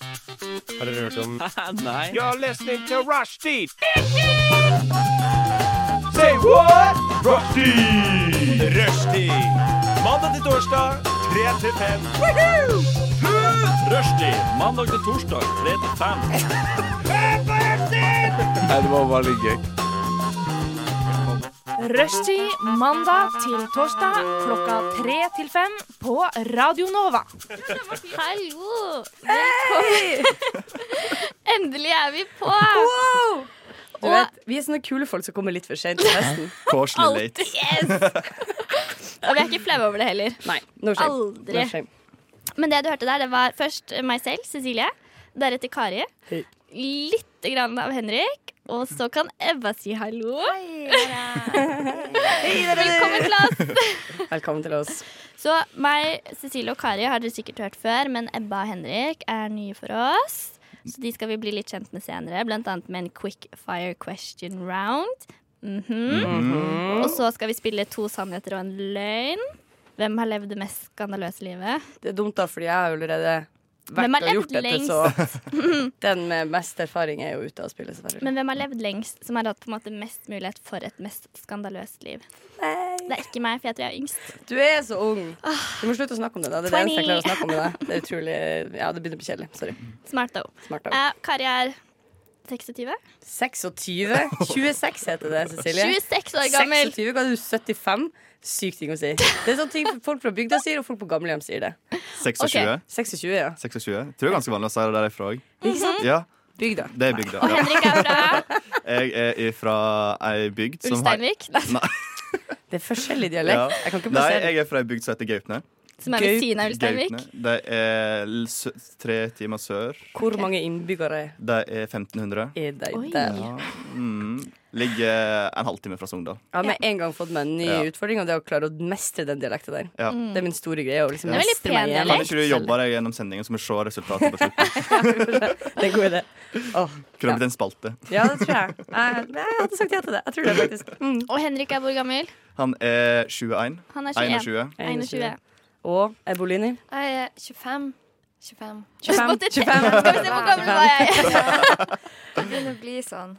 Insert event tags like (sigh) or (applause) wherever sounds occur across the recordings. Har dere (laughs) hørt om Nei. You're listening to Rushdie! Say what? Rushdie! Rushdie! Mandag til torsdag, 3 til 5. Rushdie! Mandag til torsdag, 3 til 5. Nei, det var veldig gøy. Rushtid mandag til torsdag klokka tre til fem på Radio Nova. Hallo! Velkommen. (laughs) Endelig er vi på. Du vet, vi er sånne kule folk som kommer litt for sent til (laughs) festen. Koselig late. Alt- Yes! Og vi er ikke flaue over det heller. Nei, no shame. Aldri. No shame. Men det du hørte der, det var først meg selv, Cecilie. Deretter Kari. Hei. Litt grann av Henrik. Og så kan Ebba si hallo. Velkommen til oss. Velkommen til oss. Så meg, Cecilie og Kari har dere sikkert hørt før, men Ebba og Henrik er nye for oss. Så de skal vi bli litt kjent med senere, blant annet med en quick fire question round. Mhm. Og så skal vi spille to sannheter og en løgn. Hvem har levd det mest skandaløse livet? Det er dumt, da, fordi jeg har jo allerede Hvem vært har og gjort levd dette, så (laughs) den med mest erfaring er jo ute av spillet, selvfølgelig. Men hvem har levd lengst, som har hatt på en måte mest mulighet for et mest skandaløst liv? Det er ikke meg, for jeg tror jeg er yngst. Du er så ung. Ah. Du må slutte å snakke om det. da Det er det eneste jeg 20. klarer å snakke om med deg. Det er utrolig Ja, det begynner å bli kjedelig. Sorry. Smart, though. Smart av Eh, Kari er 26. 26? 26 heter det, Cecilie. 26 år gammel. 26, ga du 75? Sykt ting å si. Det er sånne ting folk fra bygda sier, og folk på gamlehjem sier det. 26. Ok. 26, ja. 26. Tror det er ganske vanlig å si det der jeg er fra òg. Ikke sant? Ja, Bygda. det er bygda. Og Ja. Henrik er fra Jeg er fra ei bygd som har Ulsteinvik, nei, Det er forskjellig Ja. dialekt. Jeg kan ikke Nei, plassere jeg er fra ei bygd som heter Gaupne. som er ved Gaup- siden av Ulsteinvik. Gaupne. De er l- sø- tre timer sør. hvor mange innbyggere De er 1500. er det Oi. der. Ja. Mm. Ligger en halvtime fra Sogndal. Jeg har med en gang fått meg en ny Ja. utfordring, og det er å klare å mestre den dialekten der. Ja. Det er min store greie. Å liksom Mm. Det er veldig mestre meg pen gjennom Kan dialekt. ikke du jobbe deg gjennom sendingen, så vi ser resultatet på slutten? (laughs) Det er en god idé. Åh. Kunne det blitt en spalte. Ja, det tror jeg. Jeg, jeg hadde sagt ja til det. Jeg tror det, faktisk. Mm. Og Henrik er hvor gammel? Han er 21. Han er 21. 21. 21. Og Ebolini. Jeg er 25. 25. 25. 25. Skal vi se hvor gammel var jeg? Det begynner å bli sånn.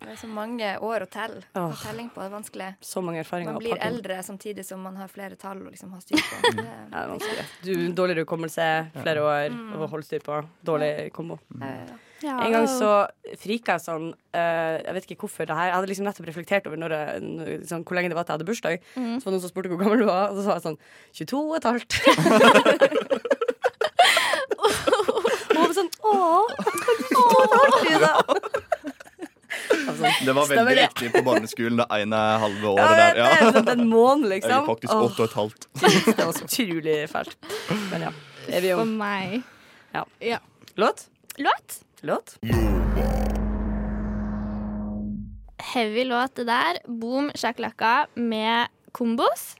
Det er så mange år å telle. Åh. Og telling på er vanskelig. Så mange erfaringer. Man å blir pakke inn. eldre samtidig som man har flere tall å liksom ha styr på. Det, Ja, det er vanskelig. Du, dårligere hukommelse, flere år, Mm. og holde styr på. Dårlig kombo. eh, En gang så frika jeg sånn eh, Jeg vet ikke hvorfor det her Jeg hadde liksom nettopp reflektert over når jeg, n- sånn, hvor lenge det var til jeg hadde bursdag. Så var det noen som spurte hvor gammel du var, og så sa jeg sånn 22 og et halvt. (laughs) Og hun var sånn Åh, kan du ikke ta et halvt i det? Altså, Det var veldig Stemmer det. riktig på barneskolen det ene halve ja, året men der. Det Ja. er sånn en måned, Eller liksom. faktisk Åh, åtte og et halvt. det var så utrolig fælt. Men ja. Er vi For om meg. låt? Låt? Låt? Heavy låt det der. Boom shakalaka med kombos.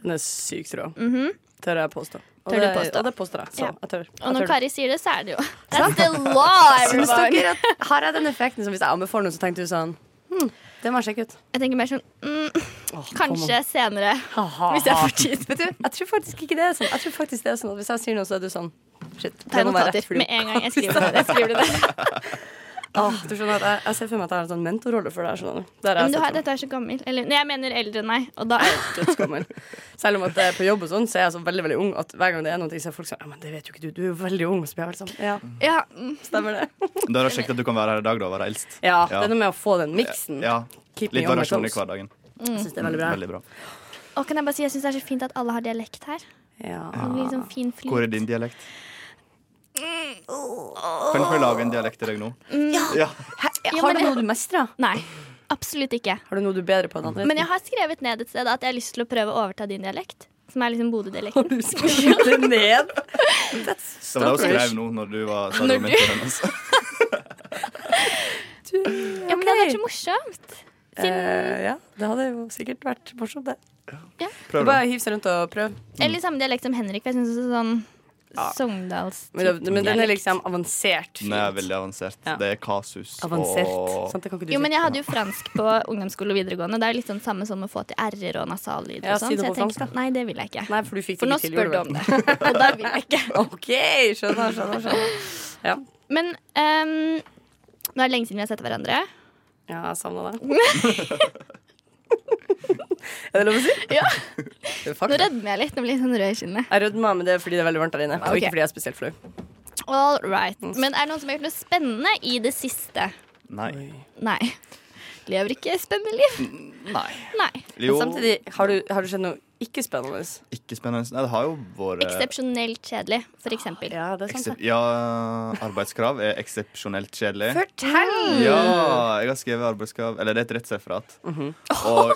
Den er sykt rå. Mhm. Tør jeg påstå. Og Tør du det- påstå? Og det påstår jeg. Så Ja. jeg tør. Og når jeg tør. Kari sier det, så er det jo (laughs) That's the law, Sånn. Synes everyone. dere at Har jeg den effekten som hvis jeg anbefaler noen, så tenker du sånn hm, det må jeg sjekke ut. Jeg tenker mer sånn mm, Åh, Kanskje senere, kom an. Ha-ha. hvis jeg får tid. Vet du, jeg tror faktisk ikke det er sånn. Jeg tror faktisk det er sånn at Hvis jeg sier noe, så er du sånn Shit. Tar det må være rett notater for med deg. en gang jeg skriver det. Jeg skriver det. (laughs) Åh, du skjønner at jeg, jeg ser for meg at jeg har en sånn mentorrolle for deg. skjønner du. Der er Men du jeg har, sett dette er så gammel. Eller nei, jeg mener eldre enn meg. Og da for meg dødsgammel. Selv om at det er på jobb og sånn, så er jeg så veldig veldig ung at hver gang det er noe, så er folk sånn Ja, men det vet jo ikke du, du er jo veldig ung. Så blir jeg veldig sånn Ja, Ja. mm. stemmer det. Da er det kjekt at du kan være her i dag, da, og være eldst. Ja, Ja. det er noe med å få den miksen. Ja. Keep Litt me on my variasjon i toes. hverdagen. Jeg synes det er veldig bra. Veldig bra. Og kan jeg bare si, jeg syns det er så fint at alle har dialekt her. Det Ja. blir sånn fin flyt. Ah. Hvor er din dialekt? Mm. Kan ikke vi lage en dialekt til deg nå? Ja. Ja, Har men du jeg- noe du mestrer? Nei. Absolutt ikke. Har du noe du er bedre på enn andre? Men jeg har skrevet ned et sted at jeg har lyst til å prøve å overta din dialekt. Som er liksom Bodø-dialekten. Du skrev det ned. Det var det hun skrev nå når du var sa du var mentoren hennes. Ja, men det hadde vært så morsomt. Eh, ja, det hadde jo sikkert vært morsomt, det. Prøv, da. Bare hiv seg rundt og prøv. Eller samme dialekt som Henrik. For jeg synes også sånn Ja. Sogndals Men, det- men den er liksom avansert. Den er veldig avansert. Ja. Det er kasus Avansert. og Sant, det kan ikke du Jo, si. men jeg hadde jo fransk på ungdomsskole og videregående. Det er litt sånn samme som å få til r-er og nasallyd Ja, og si det sånn. Så på jeg fransk, tenkte at nei, det vil jeg ikke. Nei, for du fikk For nå det ikke til. spør du om det, (laughs) og da vil jeg ikke. (laughs) OK, skjønner, skjønner. skjønner. Ja, Men ehm, nå er det lenge siden vi har sett hverandre. ja jeg savna det. (laughs) er det lov å si? Ja. Det er Nå fakta. rødmer jeg litt. Nå blir jeg sånn rød i kinnet. Jeg rødmer, men det er fordi det er veldig varmt der inne. Og Ok. ikke fordi jeg er spesielt flau. All right. Mm. Men er det noen som har gjort noe spennende i det siste? Nei. Nei. Lever ikke spennende liv. Nei. Nei. Jo, Samtidig, har du, har du skjedd noe ikke spennende? ikke spennende. Nei, det har jo vært Eksepsjonelt kjedelig, for eksempel. Ja, det er sant. Eksep- Ja, arbeidskrav er eksepsjonelt kjedelig. Fortell! Ja, jeg har skrevet arbeidskrav Eller det er et rettsreferat. Mhm. Og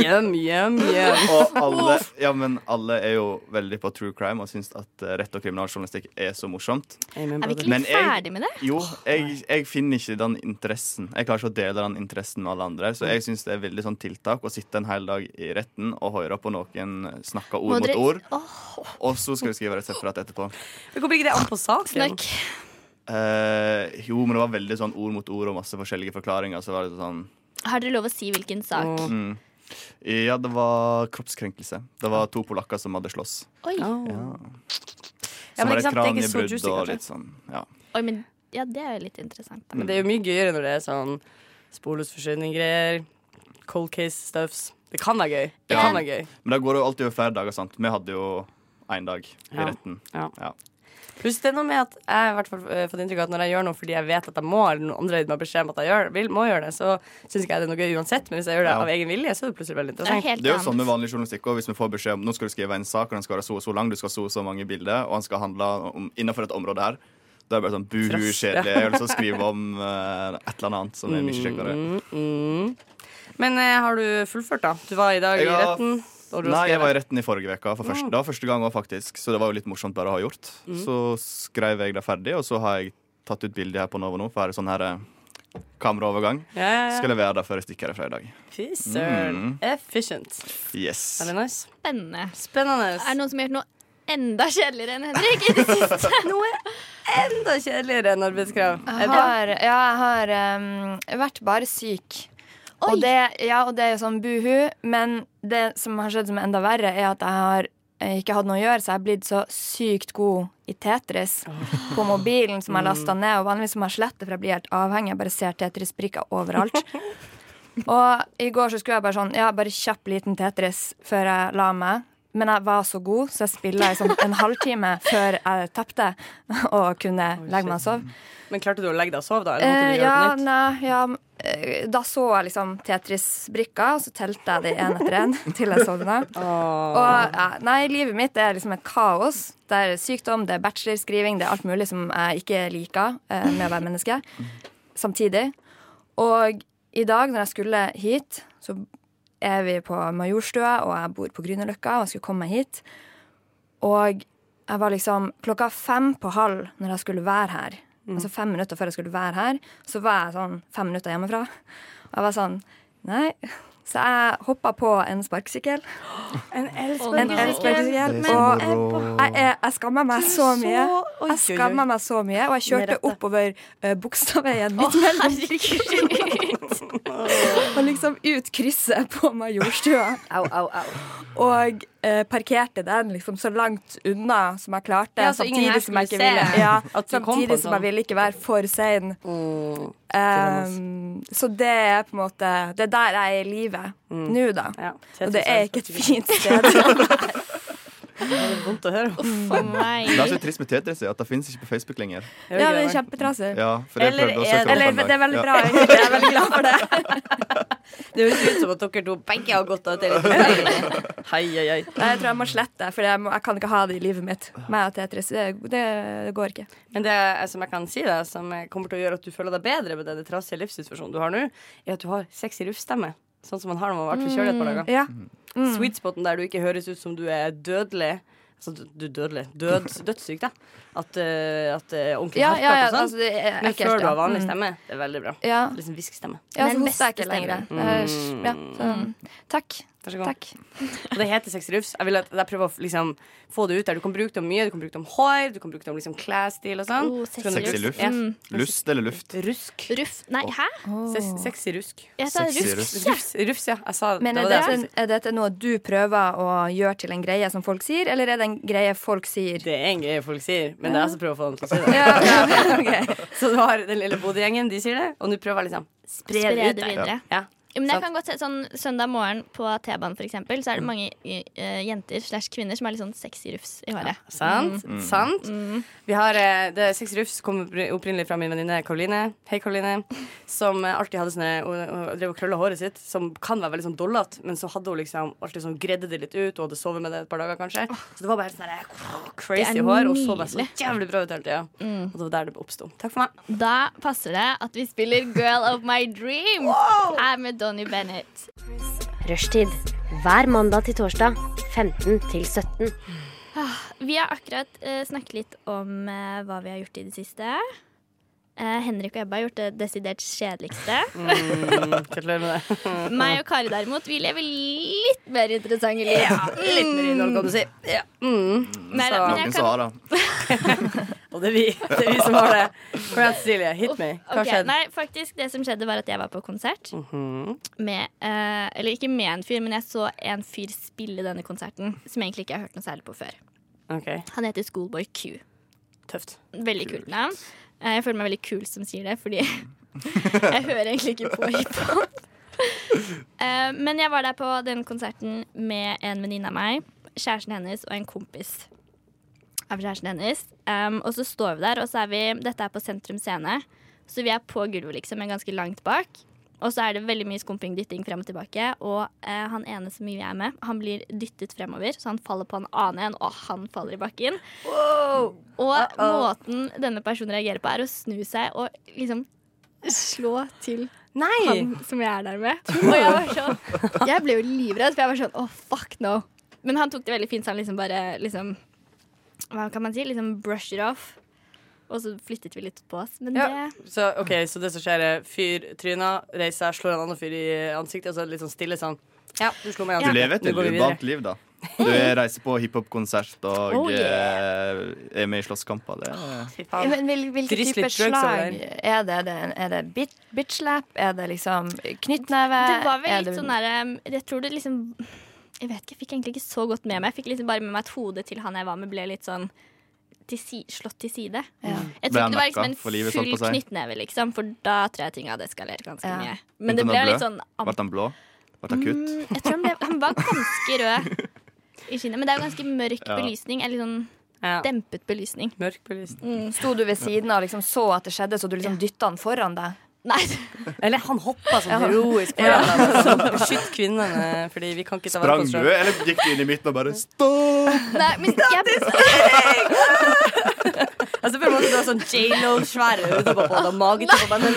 Hjem, hjem, hjem. Og (laughs) alle, ja, men alle er jo veldig på true crime og syns at eh, rett og kriminaljournalistikk er så morsomt. Er vi ikke Men litt jeg- ferdig med det? Jo, jeg, jeg finner ikke den interessen. Jeg klarer ikke å dele den interessen med alle andre. Så jeg syns det er veldig sånn tiltak å sitte en hel dag i retten og høre på noen snakke Må ord mot dere- ord, Åh, og så skal du skrive reseptrat etterpå. Det kommer ikke det an på saken. snork. Eh, jo, men det var veldig sånn ord mot ord og masse forskjellige forklaringer. Så var det sånn mm. Har dere lov å si hvilken sak? Ja, det var kroppskrenkelse. Det var to polakker som hadde slåss. Oi. Ja. Ja, Som men var ikke et sant, det er ikke så kraniebrudd juicy, og kanskje. litt sånn. Ja. Oi, men ja, det er jo litt interessant. Da. Mm. Men det er jo mye gøyere når det er sånn sporløsforsvinning-greier. Cold case-stuffs. Det kan være gøy. Det Ja. kan være gøy. Men det går jo alltid over flere dager, sant? Vi hadde jo én dag i Ja. retten. Ja. Ja. Pluss det er noe med at jeg har i hvert fall eh, fått inntrykk av at når jeg gjør noe fordi jeg vet at jeg må, eller noen andre har beskjed om at jeg gjør, vil, må gjøre det, så syns ikke jeg det er noe gøy uansett. Men hvis jeg gjør det Ja. av egen vilje, så er det plutselig veldig Det er interessant. helt Det er jo sånn med annet. vanlig journalistikk også. Hvis vi får beskjed om nå skal du skrive en sak, og den skal være så og så lang, du skal ha så og så mange bilder, og den skal handle om innenfor et område her. Da er det bare sånn buhu, Trass, ja. kjedelig. Jeg har lyst til å skrive om eh, et eller annet som er mye kjekkere. Mm, mm. Men eh, har du fullført, da? Du var i dag Jeg i har- retten. og du Nei, jeg har skrevet. Mm. var i retten i forrige uke. For første, det var første gang òg, faktisk. Så det var jo litt morsomt bare å ha gjort. Så skrev jeg det ferdig, og så har jeg tatt ut bilde her på Novo nå, for her er sånn her eh, kameraovergang. ja, ja, Skal levere det før jeg Mm. stikker herfra i dag. ja. Fy søren. Efficient. Yes. Er det nice? Spennende. Spennende. Er det noen som har gjort noe enda kjedeligere enn Henrik? (laughs) i det siste? noe enda kjedeligere enn arbeidskrav? Jeg har, ja, jeg har em, vært bare syk. Og det, ja, og det er jo sånn buhu, men det som har skjedd som er enda verre, er at jeg har eh, ikke hatt noe å gjøre, så jeg har blitt så sykt god i Tetris på mobilen som jeg lasta ned. Og vanligvis må jeg slette, for jeg blir helt avhengig. Jeg bare ser Tetris-brikker overalt. Og i går så skulle jeg bare sånn Ja, bare kjapp liten Tetris før jeg la meg. Men jeg var så god, så jeg spilla i sånn en halvtime før jeg tapte (laughs) og kunne legge meg og sove. Men klarte du å legge deg og sove, da? Eller måtte Eh, du gjøre ja, det på nytt? nei, ja, m- eh, da så jeg liksom Tetris-brikka, og så telte jeg det én etter én (laughs) til jeg sovna. Åh. Og ja, nei, livet mitt er liksom et kaos. Det er sykdom, det er bachelorskriving, det er alt mulig som jeg ikke liker eh, med å være menneske. Samtidig. Og i dag, når jeg skulle hit, så er vi på Majorstua, og jeg bor på Grünerløkka, og jeg skulle komme meg hit. Og jeg var liksom klokka fem på halv når jeg skulle være her. Altså fem minutter før jeg skulle være her, så var jeg sånn fem minutter hjemmefra. Og jeg var sånn Nei. Så jeg hoppa på en sparkesykkel. En elsparkesykkel. Og jeg, er- jeg skammer meg så mye. Jeg skammer meg så mye, og jeg kjørte oppover uh, Bogstadveien midt mellom (laughs) Og liksom ut krysset på Majorstua. Og eh, parkerte den liksom så langt unna som jeg klarte. Ja, så ingen her samtidig som jeg ikke skulle ville, se. ja, At du kom på en samtidig som sånn. jeg ville ikke være for sein. Mm. Um, så det er på en måte Det er der jeg er i livet nå, da. Mm. Ja. Og det er ikke et fint sted. Det er vondt å høre. For meg. Det er så trist med Tetris er at det fins ikke på Facebook lenger. Ja, det er kjempetrasig. Ja, for jeg Eller prøvde å er- søke Eller opp en det er dag. veldig Ja. bra. egentlig. Jeg er veldig glad for det. Det høres ut som at dere to begge har gått av til litt Hei, hei, hei. Nei, Jeg tror jeg må slette det, for jeg, må, jeg kan ikke ha det i livet mitt. Meg og Tetris, det, det går ikke. Men det er- som jeg kan si deg, som kommer til å gjøre at du føler deg bedre med den trassige livssituasjonen du har nå, er at du har sexy luftstemme. Sånn som man har når man har vært forkjølet et par dager. Ja. Mm, Sweet spoten der du ikke høres ut som du er dødelig. Altså, du du er dødelig. Død, dødssyk, da. At, eh, at eh, ordentlig Ja, hardt ja, ja, og sånn. altså, det er Men ekkelt, før du ja. har vanlig Mm. stemme, det er veldig bra. Ja, Liksom hviskestemme. ja Den så hoster jeg beste ikke lenger. stemmen. Mm. Det er- Ja, så, sånn. takk. Vær så god. Takk. Og det heter sexy rufs. Jeg vil at jeg prøver å liksom, få det ut der. Du kan bruke det om mye. Du kan bruke det om hår, du kan bruke det om liksom, klesstil og sånn. Oh, Så kan du Sexy bruke- luft. Ja. Mm. Lust eller luft? Rusk. Ruff Nei, hæ? Se- Sexy rusk. Jeg sa Sexy ruff. russ. Rufs, rufs ja. Jeg sa Men det er var det. dette, er dette noe du prøver å gjøre til en greie som folk sier, eller er det en greie folk sier? Det er en greie folk sier, men det er jeg som prøver å få dem til å si det. (laughs) Ja, ja, ok. Så du har den lille Bodø-gjengen, de sier det, og nå prøver jeg liksom spre Spre det ut. det der. videre. Ja. Ja, Men jeg Sant. kan godt se sånn Søndag morgen på T-banen, for eksempel, så Mm. er det mange eh, jenter slash kvinner som har litt sånn sexy rufs i håret. Sant. Mm. Sant. Vi har eh, det Sex Rufs kom oppri- opprinnelig fra min venninne Karoline. Hei, Karoline. Som eh, alltid hadde sånne Hun, hun drev og krølla håret sitt, som kan være veldig sånn dollete, men så hadde hun liksom alltid sånn gredde det litt ut, og hadde sovet med det et par dager, kanskje. Så det var bare helt sånn der, Det crazy er hår, og så bare så nydelig. Mm. jævlig bra ut hele tida. Og det var der det oppsto. Takk (laughs) for meg. Da passer det at vi spiller Girl of my dream her med Donny Bennett. Rushtid. Hver mandag til torsdag 15 til 17. Vi har akkurat eh, snakket litt om eh, hva vi har gjort i det siste. Eh, Henrik og Ebba har gjort det desidert kjedeligste. Mhm. Mm, Gratulerer med det. Meg og Kari derimot, vi lever litt mer interessante liv. Litt mer innhold, kan du si. Ja. Mm. Nei, Så- da, men Noen jeg som kan har det. Og det er vi. Det er vi som har det. Kom igjen, Cecilie. Hit me. Hva Ok, skjedde? Mhm. Nei, faktisk Det som skjedde, var at jeg var på konsert. Med eh, Eller ikke med en fyr, men jeg så en fyr spille denne konserten. Som jeg egentlig ikke har hørt noe særlig på før. OK. Han heter Schoolboy Q. Tøft. Veldig kult navn. Eh, Jeg føler meg veldig kul som sier det, fordi (laughs) jeg hører egentlig ikke på hiphop. Eh, Men jeg var der på den konserten med en venninne av meg, kjæresten hennes og en kompis av kjæresten hennes. Um, og så står vi der, og så er vi Dette er på Sentrum Scene, så vi er på gulvet, liksom, men ganske langt bak. Og så er det veldig mye skumping, dytting frem og tilbake. Og eh, han ene som vi er med, han blir dyttet fremover, så han faller på en annen en, og han faller i bakken. Og måten denne personen reagerer på, er å snu seg og liksom slå til Nei! han som jeg er der med. Og jeg var sånn Jeg ble jo livredd, for jeg var sånn Å, fuck no. Men han tok det veldig fint, så han liksom bare liksom Hva kan man si? Liksom brush it off. Og så flyttet vi litt på oss. Men Ja. det Så, ok, så det som skjer er fyr tryna, reiser seg, slår en annen fyr i ansiktet, og så er det litt sånn stille sånn. Ja, du slo meg i Du ansiktet. lever et Nå går vi videre. urbant liv, da. Du reiser på hiphop-konsert og Oh, yeah. eh, er med i slåsskamper. Det er Fy Ja, faen. Men hvil, hvilke Dryss litt typer drugs over slag er det? Er det, er det bit, bitch slap? Er det liksom knyttneve? Det var Er vel litt Eh, det- sånn derre Jeg tror det liksom Jeg vet ikke, jeg fikk egentlig ikke så godt med meg. Jeg fikk liksom bare med meg at hodet til han jeg var med, ble litt sånn til si, slått til side. Ja. Ble han Jeg tror ikke det var liksom nakka en for livet, full sånn på seg? knyttneve, liksom, for da tror jeg ting hadde eskalert ganske Ja. mye. Men det Begynte ble han å litt blø? sånn Ble han blå? Ble han kutt? Mm, Jeg tror han, ble, han var ganske rød i kinnet. Men det er jo ganske mørk Ja. belysning. Eller sånn Ja. dempet belysning. Mm. Mørk belyst. Sto du ved siden av og liksom så at det skjedde, så du liksom dytta han foran deg? Nei, (laughs) Eller han hoppa sånn heroisk foran deg. sånn, Beskytt kvinnene, fordi vi kan ikke ta vare på Sprang oss du, sjøl. eller gikk du inn i midten og bare stopp? nei men jeg, Altså, på en måte, du har sånn J.Lo-svære øyne på deg, magetupper på deg, men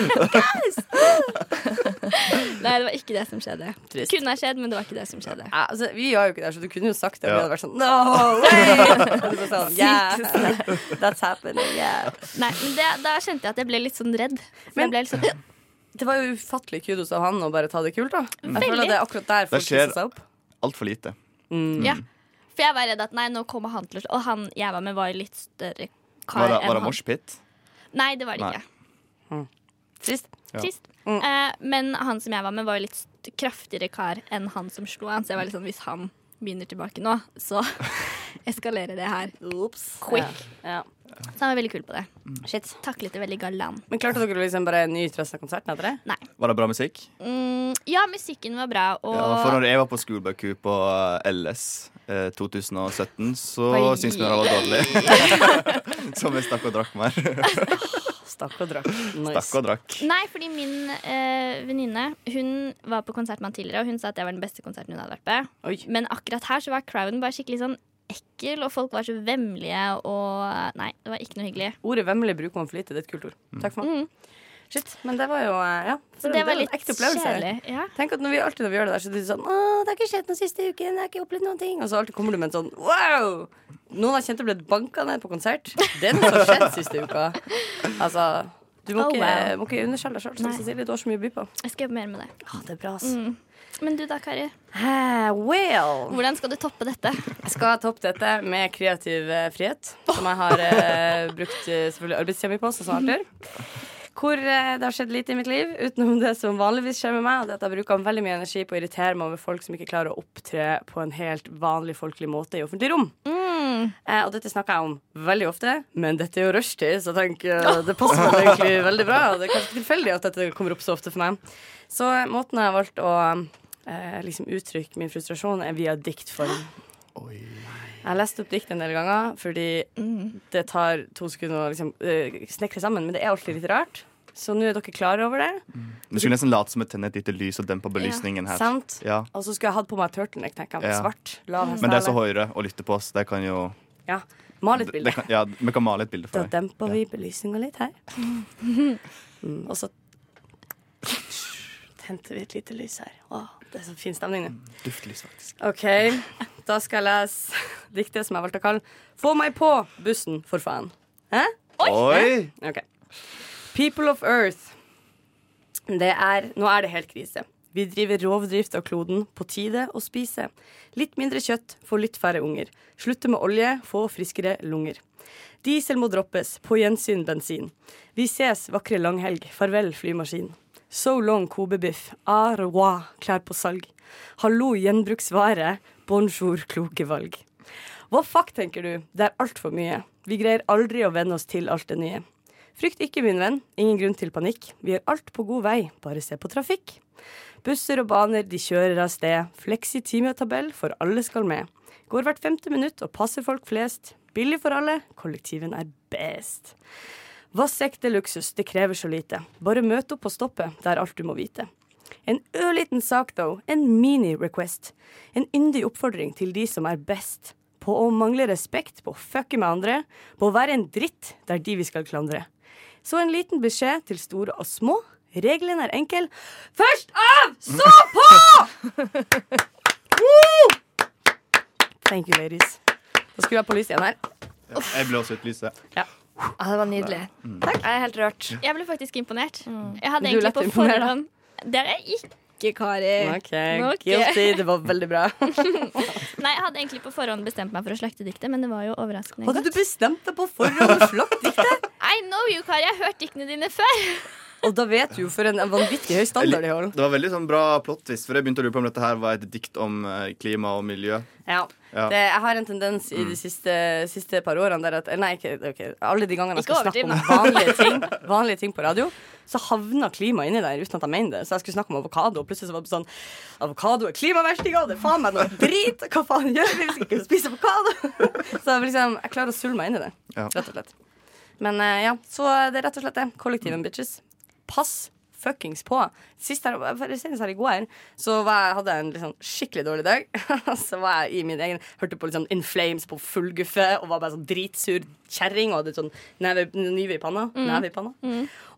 nei, det var ikke det som skjedde. Trist. Kunne ha skjedd, men det var ikke det som skjedde. ja, altså, Vi gjør jo ikke det, så du kunne jo sagt det. og Vi Ja. hadde vært sånn No way! Og du bare sånn, yeah, that's happening, yeah. Nei, men det, Da kjente jeg at jeg ble litt sånn redd. For Men- jeg ble litt sånn, Det var jo ufattelig kudos av han å bare ta det kult, da. Jeg føler Veldig. at det er akkurat der folk skjer- hisser seg opp. Altfor lite. Mm. ja. For jeg var redd at nei, nå kommer han til å slå. Og han jeg var med, var jo litt større kar Var det, enn var det han. moshpit? Nei, det var det Nei. ikke. Trist. Ja. Trist. Eh, men han som jeg var med, var jo litt st- kraftigere kar enn han som slo han. Så jeg var litt sånn, hvis han begynner tilbake nå, så (laughs) eskalerer det her. Ops. Quick. Ja. Så han var veldig kul på det. Mm. Ja. Shit. Taklet det veldig galant. Men klarte dere å liksom bare nyte resten av konserten etter det? Var det bra musikk? Mm, ja, musikken var bra, og Ja, for når jeg var på Schoolbuck U på LS eh, 2017, så Oi. syntes vi det var dårlig. så vi stakk og drakk mer. Stakk og drakk. Nice. Stakk og drakk. Nei, fordi min eh, venninne Hun var på konsert med han tidligere, og hun sa at det var den beste konserten hun hadde vært på. Oi. Men akkurat her så var crowden bare skikkelig sånn ekkel, og folk var så vemmelige, og Nei, det var ikke noe hyggelig. Ordet vemmelig bruker man for lite. Det er et kult ord. Takk for meg. Shit. Men det var jo eh, Ja. Mm. Så det var en litt ekte opplevelse. kjedelig. Ja. Tenk at når vi alltid når vi gjør det der, så er det sånn Å, det har ikke skjedd noe siste uken. Jeg har ikke opplevd noen ting. Og så alltid kommer du med en sånn wow! Noen har kjent det ble banka ned på konsert. Det er noe som har skjedd siste uka. Altså du må, Oh, ikke, wow. må ikke underskjelle deg sjøl, Nei. Cecilie. Du har så mye å by på. Jeg skal jobbe mer med det. Ja, det er bra, ass. Men du da, Kari. Eh, well. Hvordan skal du toppe dette? Jeg skal toppe dette med kreativ eh, frihet, som jeg har eh, brukt eh, selvfølgelig arbeidstida mi på, sånn som Arthur. Hvor eh, det har skjedd lite i mitt liv, utenom det som vanligvis skjer med meg. Og det er at jeg bruker veldig mye energi på å irritere meg over folk som ikke klarer å opptre på en helt vanlig folkelig måte i offentlig rom. Eh, og dette snakker jeg om veldig ofte, men dette er jo rushtid, så jeg tenker eh, det passer meg egentlig veldig bra. og Det er kanskje tilfeldig at dette kommer opp så ofte for meg. Så eh, måten jeg har valgt å eh, liksom uttrykke min frustrasjon, er via diktform. Jeg har lest opp dikt en del ganger, fordi det tar to sekunder å liksom, eh, snekre sammen. Men det er alltid litt rart. Så nå er dere klar over det. Du skulle nesten late som et tenne et lite lys og dempe belysningen her. Sant? Ja. Og så skulle jeg hatt på meg turtleneck, tenker jeg. Ja. Svart. Lav Men de som hestehale. hører og lytter på oss, de kan jo Ja. Mal et de- bilde. de kan, Ja, vi kan male et bilde Da for deg. demper vi belysninga litt (laughs) her. Mm, og så tente vi et lite lys her. Å, det er så fin stemning nå. Duftlys, faktisk. OK, da skal jeg lese diktet som jeg valgte å kalle 'Få meg på bussen, for faen'. Hæ? Oi! Ok. People of Earth. Det er, nå er det helt krise. Vi driver rovdrift av kloden. På tide å spise. Litt mindre kjøtt, få litt færre unger. Slutte med olje, få friskere lunger. Diesel må droppes. På gjensyn bensin. Vi ses, vakre langhelg. Farvel, flymaskin. So long, Kobe-biff. Au revoir, klær på salg. Hallo, gjenbruksvare. Bonjour, kloke valg. Hva fuck, tenker du? Det er altfor mye. Vi greier aldri å venne oss til alt det nye. Frykt ikke, min venn. Ingen grunn til panikk. Vi gjør alt på god vei, bare se på trafikk. Busser og baner, de kjører av sted. Fleksi timetabell, for alle skal med. Går hvert femte minutt og passer folk flest. Billig for alle, kollektiven er best. Vasssekk det luksus, det krever så lite. Bare møt opp på stoppet, det er alt du må vite. En ørliten sak, though. En mini-request. En yndig oppfordring til de som er best. På å mangle respekt, på å fucke med andre, på å være en dritt der de vi skal klandre. Så en liten beskjed til store og små. Regelen er enkel. Først av, så på! Woo! Thank you, ladies. Da skulle jeg på lyset igjen her. Jeg ble også utlyst. Ja, det var nydelig. Jeg er helt rørt. Jeg ble faktisk imponert. Jeg hadde Du egentlig lett på imponert, da. forhånd Det er jeg ikke, Kari. Ok, Ok. guilty. Det var veldig (laughs) bra. Nei, Jeg hadde egentlig på forhånd bestemt meg for å slakte diktet, men det var jo overraskende Hadde godt. du bestemt deg på forhånd og slakt diktet? I know you, Kari. Jeg har hørt diktene dine før. (laughs) Og da vet du jo for en vanvittig høy standard de holder. Det var veldig sånn bra plottvist, for jeg begynte å lure på om dette her var et dikt om eh, klima og miljø. Ja. Ja. Mm. Det, jeg har en tendens i de siste, siste par årene der at eh, Nei, ikke, ok, alle de gangene jeg Ikke skal snakke om overdriv, vanlige ting, (laughs) vanlige ting på radio, så havna klima inni der uten at jeg mener det. Så jeg skulle snakke om avokado, og plutselig så var det sånn Avokado er klimaverstinga, det er faen meg noe drit! Hva faen gjør vi? Vi skal ikke spise avokado! (laughs) Så jeg, liksom, jeg klarer å sulle meg inn i det, Ja. rett og slett. Men eh, ja, så det er rett og slett det. Kollektiven, bitches. Pass fuckings på. Sist her, for senest her i går så var jeg, hadde jeg en litt sånn skikkelig dårlig dag. (laughs) så var jeg i min egen Hørte på litt sånn In Flames på full guffe og var bare sånn dritsur kjerring og hadde sånn neve, nyve i panna. Neve i panna.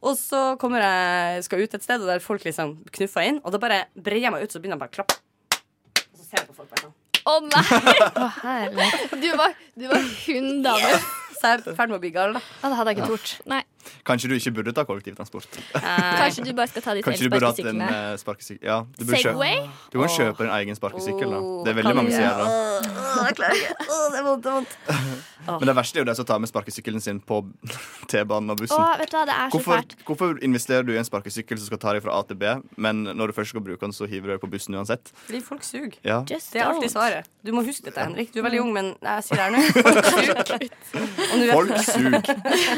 Og så kommer jeg, skal ut et sted, og der folk liksom knuffer inn. Og da bare breier jeg meg ut, så begynner jeg bare å klappe. Og så ser jeg på folk bare sånn. Å nei! Å, herlig. Du var, du var hun dame. Så jeg er i ferd med å bli gal, da. Ja, det hadde jeg ikke tort. Nei, Kanskje du ikke burde ta kollektivtransport. Kanskje du bare skal ta de Kanskje du burde hatt en elsparkesyklene. eh, sparkesykkel. Ja, du burde kjøpe, Segway? du kan kjøpe en egen sparkesykkel. da Det er veldig Kan mange jeg? som gjør det. Åh, jeg klarer ikke. Åh, det er vondt, det er vondt. Men det verste er jo de som tar med sparkesykkelen sin på (laughs) T-banen og Å, bussen. vet du hva, det er så Hvorfor, fælt. hvorfor investerer du i en sparkesykkel som skal ta deg fra A til B, men når du først skal bruke den, så hiver du deg på bussen uansett? Fordi folk suger. Ja. Just Det er alltid don't. svaret. Du må huske dette, Henrik. Du er veldig ung, men jeg sier det her nå. (laughs) Folk suger. Og nå vet Folk sug. (laughs)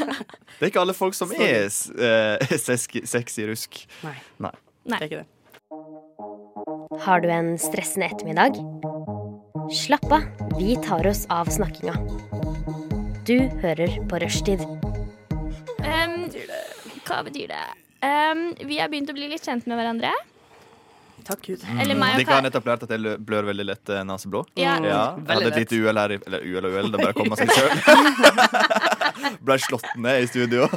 Det er ikke alle folk som er s- eh, (laughs) seski- sexy rusk. Nei, Nei. det er ikke det. Har du en stressende ettermiddag? Slapp av, vi tar oss av snakkinga. Du hører på Rushtid. sånn. Um, hva betyr det? Um, vi har begynt å bli litt kjent med hverandre. Takk Gud. Eller meg De og kan Kari. nettopp lært at jeg lø- blør veldig lett eh, naseblå. Mm. Ja. Ja, jeg hadde Veldig et lite uhell her. i- Eller uhell og uhell, det bare kom (laughs) av seg sjøl. Ble slått ned i studio.